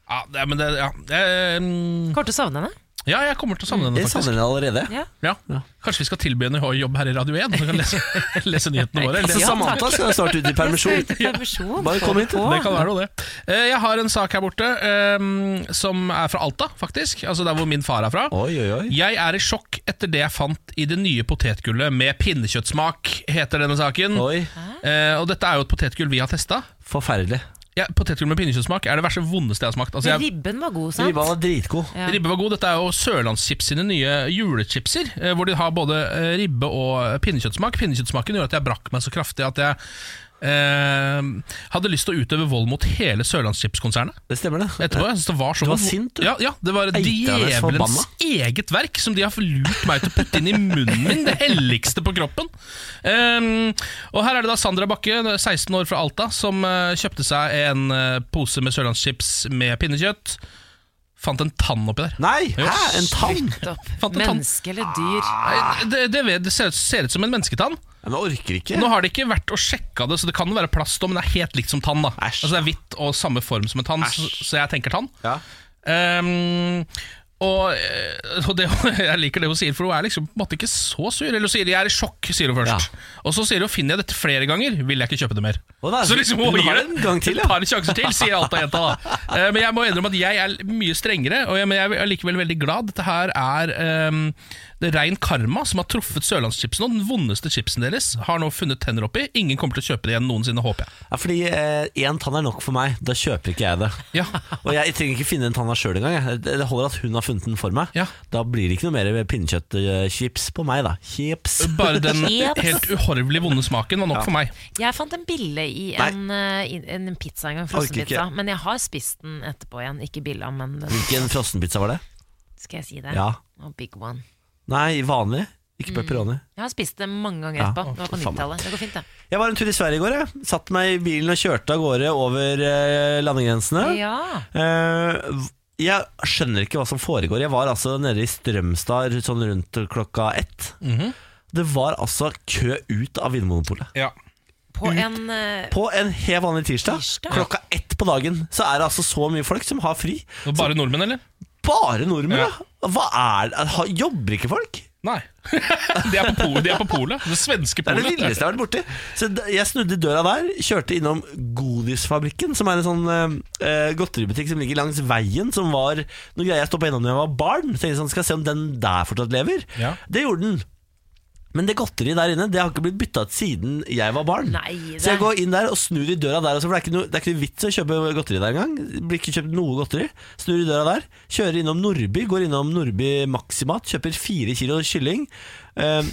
S4: Ja, det, men det, ja. Eh, mm,
S3: Kommer til å savne henne.
S4: Ja, jeg kommer til å savne henne,
S1: Jeg savner den
S4: faktisk.
S1: allerede.
S3: Ja.
S4: Ja. Kanskje vi skal tilby henne å jobb her i Radio 1, så hun kan lese, lese nyhetene våre.
S1: Altså,
S4: Eller-
S1: Samantha skal snart ut i permisjon.
S3: Ute i permisjon.
S1: Bare kom hit.
S4: Det kan være noe, det. Eh, Jeg har en sak her borte eh, som er fra Alta, faktisk. Altså der hvor min far er fra.
S1: Oi, oi, oi.
S4: Jeg er i sjokk etter det jeg fant i det nye potetgullet med pinnekjøttsmak, heter denne saken.
S1: Oi.
S4: Eh, og dette er jo et potetgull vi har testa.
S1: Forferdelig.
S4: Ja, potetgull med pinnekjøttsmak er det verste vondeste jeg har smakt. Altså,
S3: Men
S4: jeg,
S3: Ribben var god, sant?
S1: Riva var dritgod.
S3: Ja.
S4: Ribbe var god. Dette er jo Sørlandschips sine nye julechipser, eh, hvor de har både eh, ribbe og pinnekjøttsmak. Pinnekjøttsmaken gjorde at jeg brakk meg så kraftig at jeg eh, hadde lyst til å utøve vold mot hele Sørlandschipskonsernet.
S1: Det stemmer, det.
S4: Etterpå, jeg synes det var så
S1: Du var
S4: godt.
S1: sint, du.
S4: Ja, ja, det var
S1: Eitende
S4: djevelens
S1: forbanna.
S4: eget verk som de har lurt meg til å putte inn i munnen min. Det helligste på kroppen. Ehm, og her er det da Sandra Bakke, 16 år fra Alta, som eh, kjøpte seg en eh, pose med sørlandschips med pinnekjøtt. Fant en tann oppi der.
S1: Nei!
S4: Jo.
S1: Hæ? En tann?
S3: Nettopp.
S4: Fant en Ah. tann.
S3: Menneske eller dyr.
S1: Ah.
S4: Nei, Det, det, vet- det ser, ut- ser ut som en mennesketann.
S1: Ja, men orker ikke.
S4: Nå har de ikke vært og sjekka det, så det kan være plast òg, men det er helt likt som tann. da
S1: Æsj.
S4: Altså Det er hvitt og samme form som en tann, så, så jeg tenker tann.
S1: Ja.
S4: Ehm, og, eh, og det, jeg liker det hun sier, for hun er liksom på en måte ikke så sur. Eller hun sier 'jeg er i sjokk', sier hun først. Og så sier hun 'finner jeg dette flere ganger, vil jeg ikke kjøpe det mer'.
S1: Å, nei,
S4: så liksom hun
S1: hun
S4: gir
S1: har
S4: det
S1: en gang til, ja.
S4: et par sjanser til, sier Alta-jenta da. Eh, men jeg må innrømme at jeg er mye strengere, og jeg, men jeg er likevel veldig glad. Dette her er ehm, det er rein karma som har truffet sørlandschipsen, og den vondeste chipsen deres har nå funnet tenner oppi. Ingen kommer til å kjøpe det igjen noensinne, håper jeg.
S1: Ja, fordi én tann er nok for meg. Da kjøper ikke jeg det.
S4: Ja.
S1: Og jeg trenger ikke finne en tann sjøl engang. jeg. Det det holder at hun har funnet den for meg.
S4: Ja.
S1: Da blir det ikke noe mer pinnekjøttchips på meg, da. Chips.
S4: Bare den
S3: Chips.
S4: helt uhorvelig vonde smaken var nok for meg.
S3: Jeg fant en bille i en, eh, i- en pizza en gang,
S1: Orker
S3: frossenpizza.
S1: ikke.
S3: Men jeg har spist den etterpå igjen. Ikke billa, men den,
S1: Hvilken frossenpizza var det?
S3: skal jeg si det?
S1: Ja.
S3: Og big one.
S1: Nei, vanlig. Ikke pepperoni.
S3: Jeg har spist det mange ganger
S1: Ja.
S3: etterpå. Det var på
S1: Faen meg.
S3: 90-tallet. Det går fint, det.
S1: Jeg var en tur i Sverige i går. Jeg. Satt meg i bilen og kjørte av gårde over eh, landegrensene.
S3: Ja.
S1: Eh, jeg skjønner ikke hva som foregår. Jeg var altså nede i Strømstad sånn rundt klokka ett. Det var altså kø ut av Vinmonopolet.
S4: Ja.
S3: På en eh,
S1: På en helt vanlig tirsdag,
S3: Tirsdag?
S1: klokka ett på dagen, så er det altså så mye folk som har fri.
S4: Det var Bare nordmenn, eller?
S1: Bare nordmenn,
S4: Ja.
S1: ja. Hva er det? Ha- Jobber ikke folk?
S4: Nei. de, er på pol, de er på polet. Det svenske
S1: Det er
S4: polet.
S1: det villeste jeg har vært borti. Så d- jeg snudde i døra der, kjørte innom Godisfabrikken, som er en sånn eh, eh, godteributikk som ligger langs veien, som var noe greier jeg stoppa innom da jeg var barn. Tenkte jeg sånn, skal jeg se om den der fortsatt lever.
S4: Ja.
S1: Det gjorde den. Men det godteriet der inne Det har ikke blitt bytta ut siden jeg var barn.
S3: Nei, det-
S1: Så jeg går inn der og snur i døra der også, for det er, ikke noe, det er ikke noe vits å kjøpe godteri der engang. Det Blir ikke kjøpt noe godteri. Snur i døra der, kjører innom Nordby, går innom Nordby Maximat, kjøper fire kilo kylling, eh,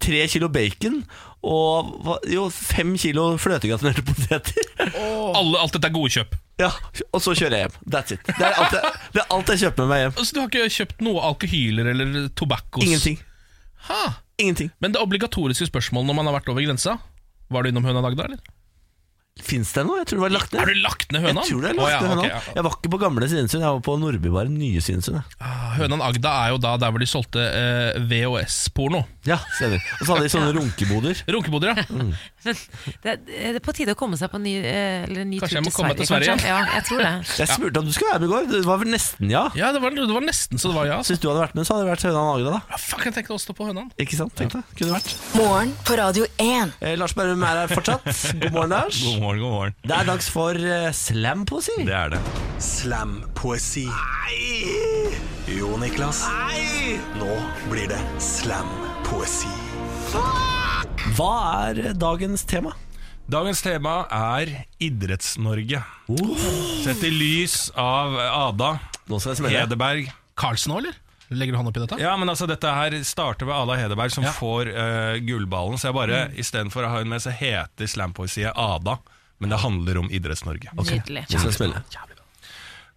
S1: tre kilo bacon og hva- jo, fem kilo fløtegratinerte poteter.
S4: Alle, alt dette er godkjøp.
S1: Ja, og så kjører jeg hjem. That's it. Det er alt jeg, det er alt jeg kjøper med meg hjem.
S4: Altså, du har ikke kjøpt noe alkohyler eller tobakkos?
S1: Ingenting.
S4: Ha!
S1: Ingenting.
S4: Men det obligatoriske spørsmålet når man har vært over grensa Var du innom Høna Dagda, eller?
S1: Fins det noe? Jeg tror det var lagt ned.
S4: Har du lagt ned høna?
S1: Jeg tror det er
S4: Å,
S1: lagt
S4: ja,
S1: ned
S4: ok,
S1: nå.
S4: ja.
S1: Jeg var ikke på gamle Svinesund, jeg var på Nordbybaren nye Svinesund. jeg.
S4: Ah, Hønan Agda er jo da der hvor de solgte eh, VHS-porno.
S1: Ja, stemmer. Og så hadde de sånne runkeboder.
S4: Runkeboder, ja.
S1: Mm.
S3: Men det, det er på tide å komme seg på en ny, eh, eller en ny tur
S4: Kanskje jeg
S3: til
S4: må komme
S3: Sverige.
S4: til Sverige,
S3: kanskje. Ja, jeg tror det.
S1: Jeg spurte om du skulle være med i går, det var vel nesten ja.
S4: ja det, var, det var nesten så det var ja. Altså.
S1: Hvis du hadde vært med, så hadde det vært Høna Nagra, da.
S4: Ah, Fuck, jeg tenkte også på hønan.
S1: Ikke sant? Tenkte jeg. Kunne vært.
S5: Morgen på Radio 1.
S1: Eh, Lars Berrum er her fortsatt. God morgen, Lars.
S9: God morgen, god morgen.
S1: Det er dags for eh, slampoesi.
S9: Det er det.
S10: Slampoesi. Jo, Niklas. Nå blir det slampoesi.
S1: Hva er eh, dagens tema?
S9: Dagens tema er Idretts-Norge.
S1: Oh.
S9: Sett i lys av Ada
S1: Nå skal jeg smelle.
S9: Hedeberg.
S4: Carlsen òg, eller? Legger du hånd oppi dette?
S9: Ja, men altså Dette her starter ved Ada Hedeberg, som får eh, gullballen. Så jeg bare, istedenfor å ha hun med, så heter slampoesiet Ada. Men det handler om Idretts-Norge.
S3: Nydelig.
S1: Nå skal jeg smelle.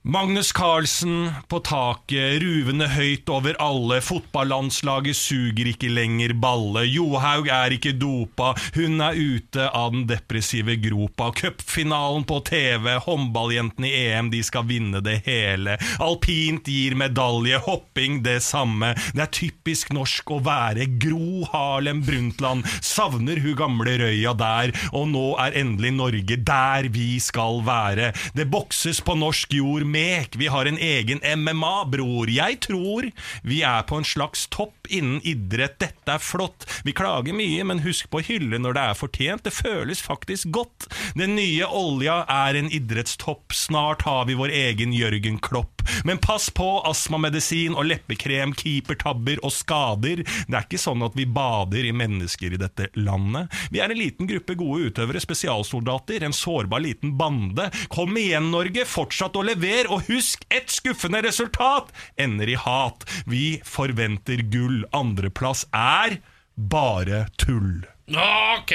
S9: Magnus Carlsen på taket, ruvende høyt over alle. Fotballandslaget suger ikke lenger balle. Johaug er ikke dopa, hun er ute av den depressive gropa. Cupfinalen på TV, håndballjentene i EM, de skal vinne det hele. Alpint gir medalje, hopping det samme. Det er typisk norsk å være Gro Harlem Brundtland. Savner hun gamle røya der, og nå er endelig Norge der vi skal være. Det bokses på norsk jord mek. Vi har en egen MMA, bror. Jeg tror vi er på en slags topp innen idrett. Dette er flott. Vi klager mye, men husk på å hylle når det er fortjent. Det føles faktisk godt. Den nye olja er en idrettstopp. Snart har vi vår egen Jørgen Klopp. Men pass på astmamedisin og leppekrem, keepertabber og skader. Det er ikke sånn at vi bader i mennesker i dette landet. Vi er en liten gruppe gode utøvere, spesialsoldater, en sårbar liten bande. Kom igjen, Norge, fortsatt å levere, og husk, ett skuffende resultat ender i hat. Vi forventer gull. Andreplass er bare tull.
S4: Ok.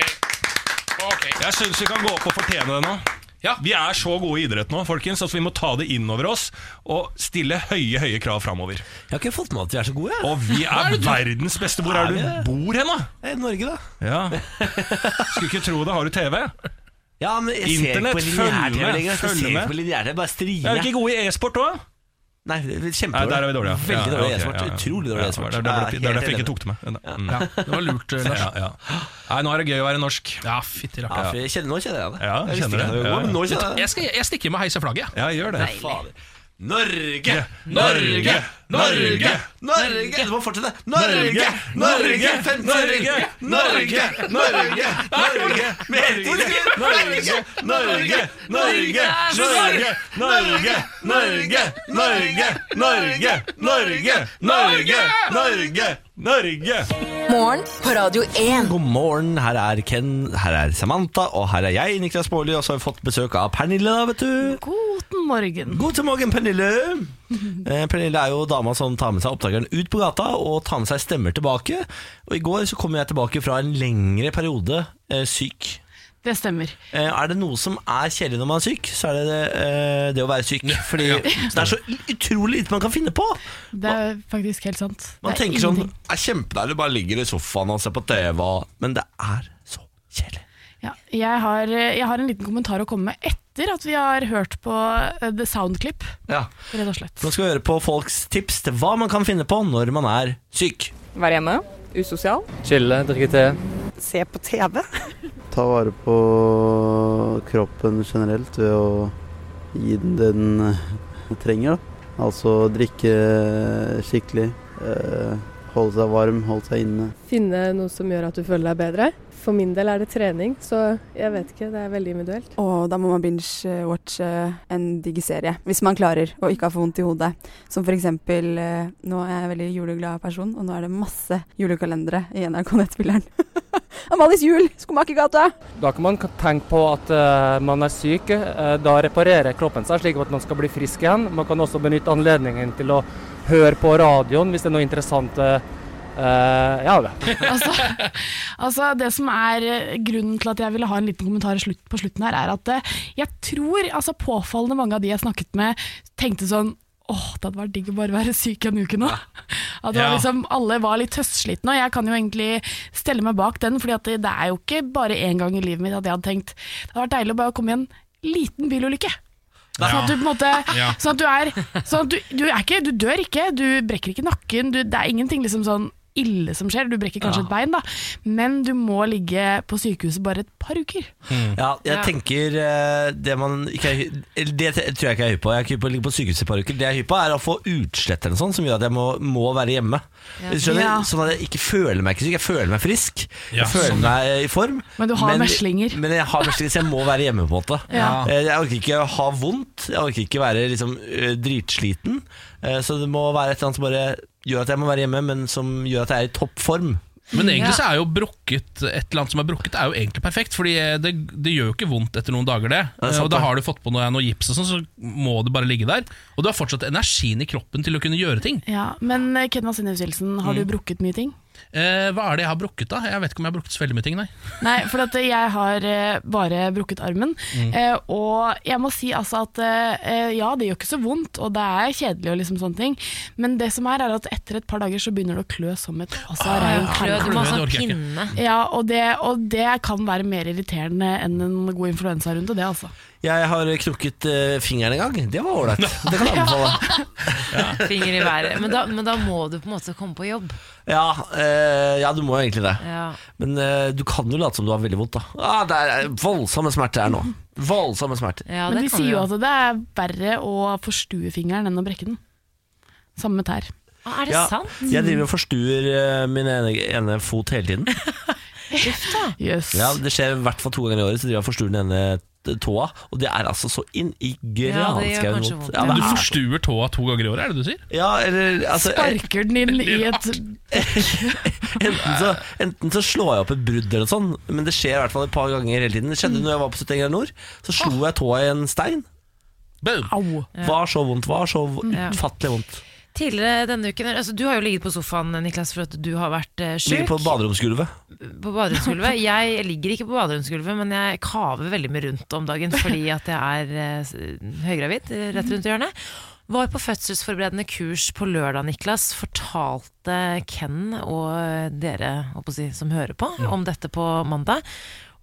S4: Ok.
S9: Jeg syns vi kan gå opp og fortjene det nå. Vi er så gode i idrett nå, folkens, at vi må ta det inn over oss og stille høye høye krav framover.
S1: Jeg har ikke fått med at de er så gode. jeg.
S9: Og vi
S1: Hva
S9: er
S1: det du-
S9: verdens beste. Hvor er
S1: Er
S9: det
S1: vi det?
S9: du bor hen, da?
S1: Eh, Norge, da.
S9: Ja. Skulle ikke tro det. Har du TV?
S1: Ja, men jeg
S9: Internett,
S1: ser ikke på
S9: følg
S1: lineær-TV
S9: med,
S1: lenger. altså, Jeg
S9: følg
S1: ser ikke
S9: med.
S1: på lineær-TV, bare
S9: Er vi
S1: streamer.
S9: ikke gode i e-sport òg?
S1: Nei, det er
S9: Nei,
S1: kjempedårlig.
S9: der er vi dårlige. ja.
S1: Veldig
S9: Ja,
S1: dårlig
S9: ok,
S1: e-sport.
S9: ja, ja.
S1: Utrolig
S9: Ja,
S1: dårlig
S9: det var
S1: e-sport. Jeg er
S9: der- Det er derfor- det er
S1: helt
S9: derfor jeg ikke
S1: enig.
S9: tok det med. Ja.
S4: Mm. Ja, det var lurt, eh, Lars.
S9: Ja, ja. Nei, nå er det gøy å være norsk.
S4: Ja, fytti
S1: Ja,
S4: rakkeren.
S1: for jeg kjenner, nå kjenner jeg det.
S9: Ja,
S1: jeg visste
S9: kjenner
S1: ikke
S9: det.
S1: at var god,
S9: Ja, ja.
S1: men nå kjenner jeg det.
S4: Jeg, skal- jeg stikker med å heise flagget. jeg.
S9: Ja, gjør det.
S1: Fader. Norge!
S4: Norge!
S1: Norge! Norge! Du må fortsette. Norge! Norge! Norge! Norge! Norge! Norge! Norge! Norge! Norge! Norge! Norge! Norge! Norge! Norge! Norge! Norge! Norge! Norge! Norge!
S5: Morgen på Radio 1.
S1: God morgen, her er Ken, her er Samantha, og her er jeg, Niklas Baarli, og så har vi fått besøk av Pernille, da, vet du.
S3: Guten morgen.
S1: God til morgen, Pernille. Eh, Pernille er jo dama som tar med seg oppdageren ut på gata, og tar med seg stemmer tilbake. Og i går så kom jeg tilbake fra en lengre periode eh, syk.
S11: Det stemmer.
S1: Eh, er det noe som er kjedelig når man er syk, så er det det, eh, det å være syk. Fordi det er så utrolig lite man kan finne på.
S11: Det er faktisk helt sant.
S1: Man
S11: det er
S1: tenker sånn
S11: ingenting.
S1: Det er kjempedeilig, bare ligger i sofaen og ser på TV, og- men det er så kjedelig.
S11: Ja, jeg, har, eh, jeg har en liten kommentar å komme med etter at vi har hørt på eh, The Soundclip,
S1: Ja.
S11: rett og slett.
S1: Nå skal vi høre på folks tips til hva man kan finne på når man er syk.
S7: Være hjemme. Usosial.
S12: Chille, drikke te.
S7: Se på TV.
S13: Ta vare på kroppen generelt ved å gi den det den eh, trenger. Da. Altså drikke skikkelig, eh, holde seg varm, holde seg inne.
S14: Finne noe som gjør at du føler deg bedre. For min del er det trening, så jeg vet ikke, det er veldig individuelt.
S15: Og da må man binge-watche en digg serie, hvis man klarer og ikke har for vondt i hodet. Som for eksempel, eh, nå er jeg en veldig juleglad person, og nå er det masse julekalendere i NRK Nettspilleren. Amalies jul, Skomakergata!
S12: Da kan man k- tenke på at eh, man er syk. eh, da reparerer kroppen seg slik at man skal bli frisk igjen. Man kan også benytte anledningen til å høre på radioen hvis det er noe interessant. eh, eh, ja, det.
S11: Altså, det som er eh, grunnen til at jeg ville ha en liten kommentar i slutt, på slutten her, er at eh, jeg tror altså, påfallende mange av de jeg snakket med, tenkte sånn Åh, det hadde vært digg å bare være syk en uke nå. At det var
S16: Ja.
S11: liksom, alle var litt høstslitne, og jeg kan jo egentlig stelle meg bak den, for det det er jo ikke bare én gang i livet mitt at jeg hadde tenkt det hadde vært deilig å bare komme i en liten bilulykke.
S16: Ja.
S11: Sånn at du på en måte
S16: Ja.
S11: Sånn at du er Sånn at du, du er ikke Du dør ikke Du brekker ikke nakken du, Det er ingenting liksom sånn ille som skjer Du brekker
S1: Ja.
S11: kanskje et bein da Men du må ligge på sykehuset bare et par uker
S1: Ja, jeg
S11: Ja.
S1: tenker eh, Det man ikke er hy- eller Det te- tror jeg ikke jeg er hypp på. Jeg er ikke hypp på å ligge på sykehuset et par uker. Det jeg er hypp på, er å få utslett eller noe sånt som gjør at jeg må, må være hjemme.
S11: Ja.
S1: Skjønner?
S11: Ja.
S1: Sånn at jeg ikke føler meg ikke syk. Jeg føler meg frisk.
S11: Ja,
S1: jeg føler
S11: sånn.
S1: meg eh, i form.
S11: Men du har meslinger.
S1: Men jeg har meslinger, så jeg må være hjemme, på en måte.
S11: Ja.
S1: Eh, Jeg orker ikke å ha vondt. Jeg orker ikke være liksom, eh, dritsliten. Eh, Så det må være et eller annet som bare gjør at jeg må være hjemme, men som gjør at jeg er i toppform.
S4: Men egentlig så er jo brukket et eller annet som er brukket, er jo egentlig perfekt. Fordi eh, det, det gjør jo ikke vondt etter noen dager, det.
S1: Nei, sant
S4: og da
S1: det.
S4: har du fått på noe, noe gips og sånn, så må det bare ligge der. Og du har fortsatt energien i kroppen til å kunne gjøre ting.
S11: Ja, men eh, Kenna Sinnes Wilson Har
S4: Mm.
S11: du brukket mye ting?
S4: Eh, hva er det jeg har brukket, da? Jeg vet ikke om jeg har brukket så veldig mye ting, nei.
S11: Nei, for at jeg har eh, bare brukket armen.
S4: Mm.
S11: Eh, og jeg må si altså at eh, ja, det gjør ikke så vondt, og det er kjedelig og liksom sånne ting, men det som er, er at etter et par dager så begynner det å klø som et altså,
S3: Ah,
S11: rein
S3: klø,
S11: kanin.
S3: du må ha sånn Klø, det orker jeg ikke. pinne.
S11: Ja, og det, og det kan være mer irriterende enn en god influensarunde, det altså.
S1: Jeg har knukket eh, fingeren en gang. Det var ålreit. Det kan jeg anbefale.
S3: Finger i været. Men da, men da må du på en måte komme på jobb.
S1: Ja, eh, ja, du må jo egentlig det.
S3: Ja.
S1: Men eh, du kan jo late som du har veldig vondt, da. Ah, det er eh, voldsomme smerter her nå. Voldsomme smerter.
S3: Ja,
S11: Men
S3: det
S11: de
S3: kan
S11: sier
S3: vi
S11: jo
S3: jo.
S11: at det er verre å forstue fingeren enn å brekke den. Samme med tær.
S3: Ah, Er
S1: Ja, Jeg driver og forstuer eh, min ene, ene fot hele tiden.
S11: Yes.
S1: Ja, Det skjer i hvert fall to ganger i året, så driver jeg og forstuer den ene t- tåa. Og det er altså så inn i granskauen vondt. Ja,
S4: du
S1: det er-
S4: forstuer tåa to ganger i året, er det du sier?
S1: ja, eller altså, eh,
S11: Sparker den inn i et
S1: enten, så, enten så slår jeg opp et brudd eller noe sånt, men det skjer i hvert fall et par ganger hele tiden. Det
S3: Mm.
S1: skjedde når jeg var på 71 grader nord. Så slo jeg tåa i en stein.
S11: Au.
S1: Var så vondt. Var så v-
S3: Ja.
S1: utfattelig vondt.
S3: Tidligere denne uken altså, Du har jo ligget på sofaen, Niklas, for at du har vært uh, sjuk.
S1: Ligger på baderomsgulvet.
S3: på baderomsgulvet. Jeg ligger ikke på baderomsgulvet, men jeg kaver veldig mye rundt om dagen fordi at jeg er eh, s- høygravid eh, rett rundt i hjørnet. Var på fødselsforberedende kurs på lørdag, Niklas. Fortalte Ken og eh, dere håper å si, som hører på, om dette på mandag.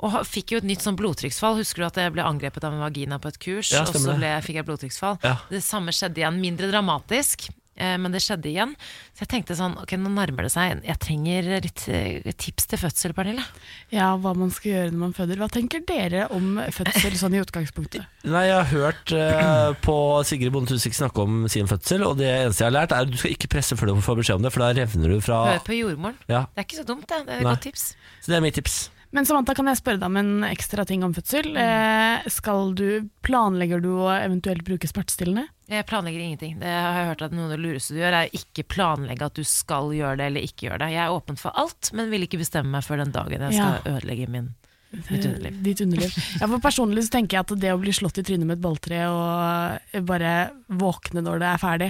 S3: Og ha- fikk jo et nytt sånn blodtrykksfall. Husker du at jeg ble angrepet av en vagina på et kurs?
S2: Ja,
S3: og
S2: stemmer
S3: så
S2: det.
S3: ble, fikk jeg blodtrykksfall.
S2: Ja.
S3: Det samme skjedde igjen. Mindre dramatisk, eh, men det skjedde igjen. Så jeg tenkte sånn, ok, nå nærmer det seg. Jeg trenger litt eh, tips til fødsel, Pernille.
S11: Ja, hva man skal gjøre når man føder. Hva tenker dere om fødsel sånn i utgangspunktet?
S1: Nei, Jeg har hørt eh, på Sigrid Bonde Tusvik snakke om sin fødsel, og det eneste jeg har lært, er at du skal ikke presse før du får beskjed om det, for da revner du fra
S4: Ah.
S3: Hør på jordmoren.
S1: Ja.
S3: Det er ikke så dumt, det. Det er et
S1: Nei.
S3: godt tips.
S1: Så det er mitt tips.
S11: Men Samantha, kan jeg spørre deg om en ekstra ting om fødsel?
S3: Mm.
S11: Eh, skal du, Planlegger du å eventuelt bruke smertestillende?
S3: Jeg planlegger ingenting. Det har jeg hørt at noe av det lureste du gjør, er å ikke planlegge at du skal gjøre det eller ikke gjøre det. Jeg er åpen for alt, men vil ikke bestemme meg før den dagen jeg skal
S11: Ja.
S3: ødelegge min, mitt underliv.
S11: Ditt underliv. Ja, for personlig så tenker jeg at det å bli slått i trynet med et balltre og bare våkne når det er ferdig,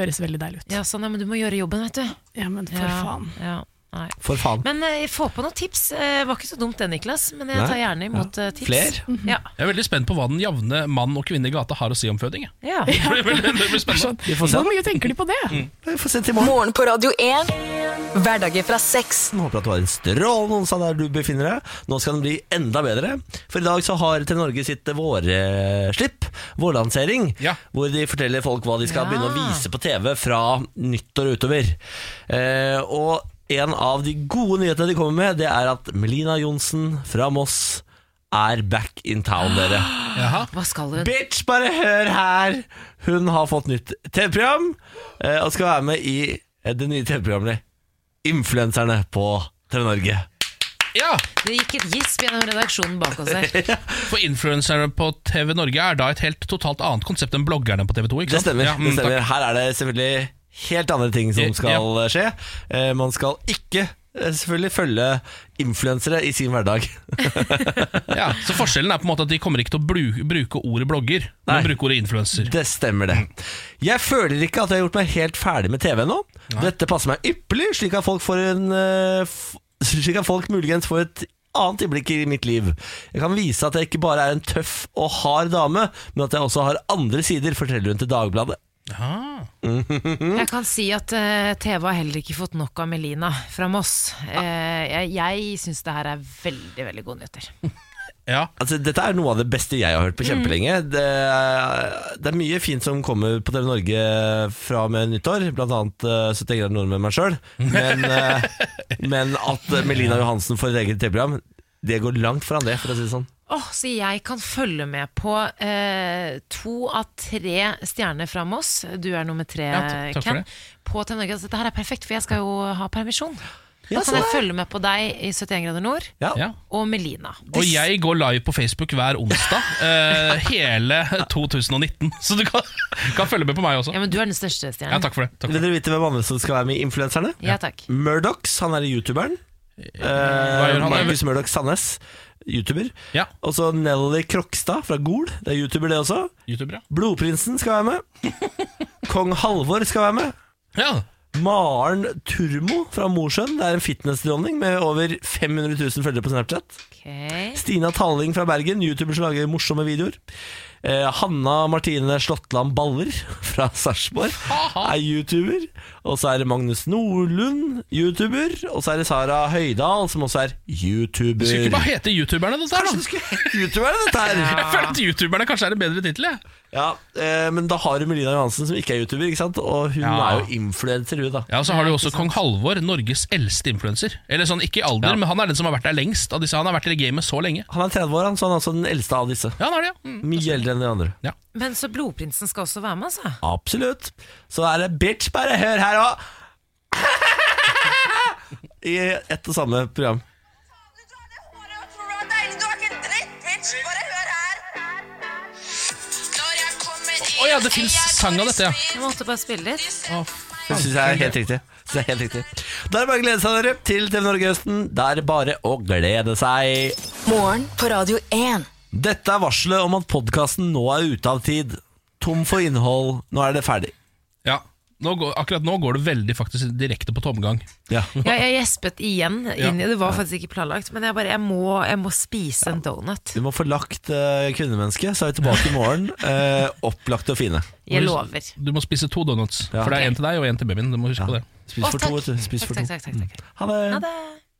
S11: høres veldig deilig ut.
S3: Ja, sånn, ja, men du må gjøre jobben, vet du.
S11: Ja, men for
S3: Ja,
S11: faen.
S3: Ja, nei.
S1: For faen.
S3: Men eh, få på noen tips. Eh, var ikke så dumt det, Niklas, men jeg
S4: Nei.
S3: tar gjerne imot
S4: Ja.
S3: eh, tips.
S4: Fler?
S3: Ja.
S4: Jeg er veldig spent på hva den jevne mann og kvinne i gata har å si om føding. jeg.
S11: Mhm.
S3: Ja.
S4: Det blir veldig- det blir spennende.
S11: Hvor mye tenker de på det?
S1: Vi får se til
S5: morgen. Morgen på Radio 1. Hverdager fra seks.
S1: Håper at du har en strålende onsdag der du befinner deg. Nå skal den bli enda bedre. For i dag så har Til Norge sitt vårslipp, vårlansering, hvor de forteller folk hva de skal
S10: Ja.
S1: begynne å vise på TV fra nyttår og utover. Eh, og en av de gode nyhetene de kommer med, det er at Melina Johnsen fra Moss er back in town, dere.
S3: Hva skal hun?
S1: Bitch, bare hør her! Hun har fått nytt TV-program eh, og skal være med i eh, det nye TV-programmet Influenserne på TV Norge.
S3: Det gikk et gisp gjennom redaksjonen bak oss her.
S4: For influenserne på TV Norge er da et helt totalt annet konsept enn bloggerne på TV 2. ikke
S1: Det
S4: sant?
S1: stemmer.
S4: Ja, mm,
S1: det stemmer.
S4: takk.
S1: Her er det selvfølgelig helt andre ting
S4: Ja,
S1: som skal eh, skje. Eh, Man skal ikke eh, selvfølgelig følge influensere i sin hverdag.
S4: Ja, så forskjellen er på en måte at de kommer ikke til å bru- bruke ordet blogger, men bruke ordet influenser.
S1: Det stemmer det. Jeg føler ikke at jeg har gjort meg helt ferdig med TV nå. Dette passer meg ypperlig, slik at folk får en eh, f- Slik at folk muligens får et annet innblikk i mitt liv. Jeg kan vise at jeg ikke bare er en tøff og hard dame, men at jeg også har andre sider, forteller hun til Dagbladet.
S4: Ah,
S3: Jeg kan si at eh, TV har heller ikke fått nok av Melina fra Moss. Eh, jeg jeg syns det her er veldig, veldig gode nyheter.
S1: Altså, dette er noe av det beste jeg har hørt
S4: Mm.
S1: på kjempelenge. Det, det er mye fint som kommer på TV Norge fra og med nyttår, blant annet eh, 70 grader nord med meg sjøl. Men, eh, men at Melina Johansen får et eget TV-program, det går langt foran det, for å si det sånn.
S3: Åh, så jeg kan følge med på eh, to av tre stjerner fra Moss. Du er nummer tre,
S2: Ja, t- takk for
S3: Ken.
S2: det.
S3: På TV Norge. Altså, dette her er perfekt, for jeg skal jo ha permisjon. Da
S4: Ja,
S3: kan
S4: så
S3: jeg
S4: det.
S3: følge med på deg i 71 grader nord
S4: Ja.
S3: og Melina.
S4: Og jeg går live på Facebook hver onsdag, eh, hele 2019. Så du kan, kan følge med på meg også.
S3: Ja, men du er den største stjernen.
S4: Ja, takk for det.
S1: Vil dere vite hvem andre som skal være med i Influenserne?
S3: Ja, takk.
S1: Mm. Murdochs, han er youtuberen.
S4: gjør
S1: Eh,
S4: han?
S1: Markus Murdoch Sandnes, youtuber. Og så Nelly Krokstad fra Gol, det er youtuber det også.
S4: YouTuber, ja.
S1: Blodprinsen skal være med. Kong Halvor skal være med. Maren Turmo fra Mosjøen, det er en fitnessdronning med over 500 000 følgere på Snapchat. Stina Talling fra Bergen, youtuber som lager morsomme videoer. Eh, Hanna Martine Slåttland Baller fra Sarpsborg er youtuber. Og så er det Magnus Nordlund, youtuber. Og så er det Sara Høydahl, som også er youtuber.
S4: Det skulle ikke bare hete youtuberne, dette her. da?
S1: Youtuberne, dette her.
S4: Jeg føler at youtuberne kanskje er en bedre tittel. jeg.
S1: Ja, eh, Men da har du Melina Johansen, som ikke er YouTuber, ikke sant? og hun
S4: Ja.
S1: er jo influenser, hun, da.
S4: Ja, og Så har du også kong Halvor, Norges eldste influenser. Eller sånn, ikke i alder, men han er den som har vært der lengst av disse. Han har vært i det gamet så lenge.
S1: Han er 30 år, han, så han er også den eldste av disse.
S4: Ja, Mm. han er det,
S1: Mye eldre enn de andre.
S3: Men så Blodprinsen skal også være med, altså?
S1: Absolutt. Så er det bitch, bare hør her òg! I ett og samme program.
S4: Å ja, det fins sang av dette, ja.
S3: Jeg måtte bare spille litt.
S1: Det syns jeg er helt riktig. Synes jeg er helt riktig. Da er det bare å glede seg dere til TV Norge Høsten. Det er bare å glede seg.
S5: Morgen på Radio 1.
S1: Dette er varselet om at podkasten nå er ute av tid. Tom for innhold. Nå er det ferdig.
S4: Ja, nå går, Akkurat nå går det veldig faktisk direkte på tomgang.
S1: Ja.
S3: Ja, jeg gjespet igjen. Inn, i-
S4: Ja.
S3: Det var faktisk ikke planlagt, men jeg bare Jeg må, jeg må spise en donut.
S1: Du må få lagt eh, kvinnemennesket, så er vi tilbake i morgen. eh, opplagte og fine.
S3: Jeg lover.
S4: Du må spise to donuts,
S1: Ja.
S4: for det er en til deg og en til babyen. Du må huske på det.
S1: Spis for to, Mm. vet du. Spis for to.
S3: Takk, takk, takk, takk.
S1: Ha det.
S3: Ha det.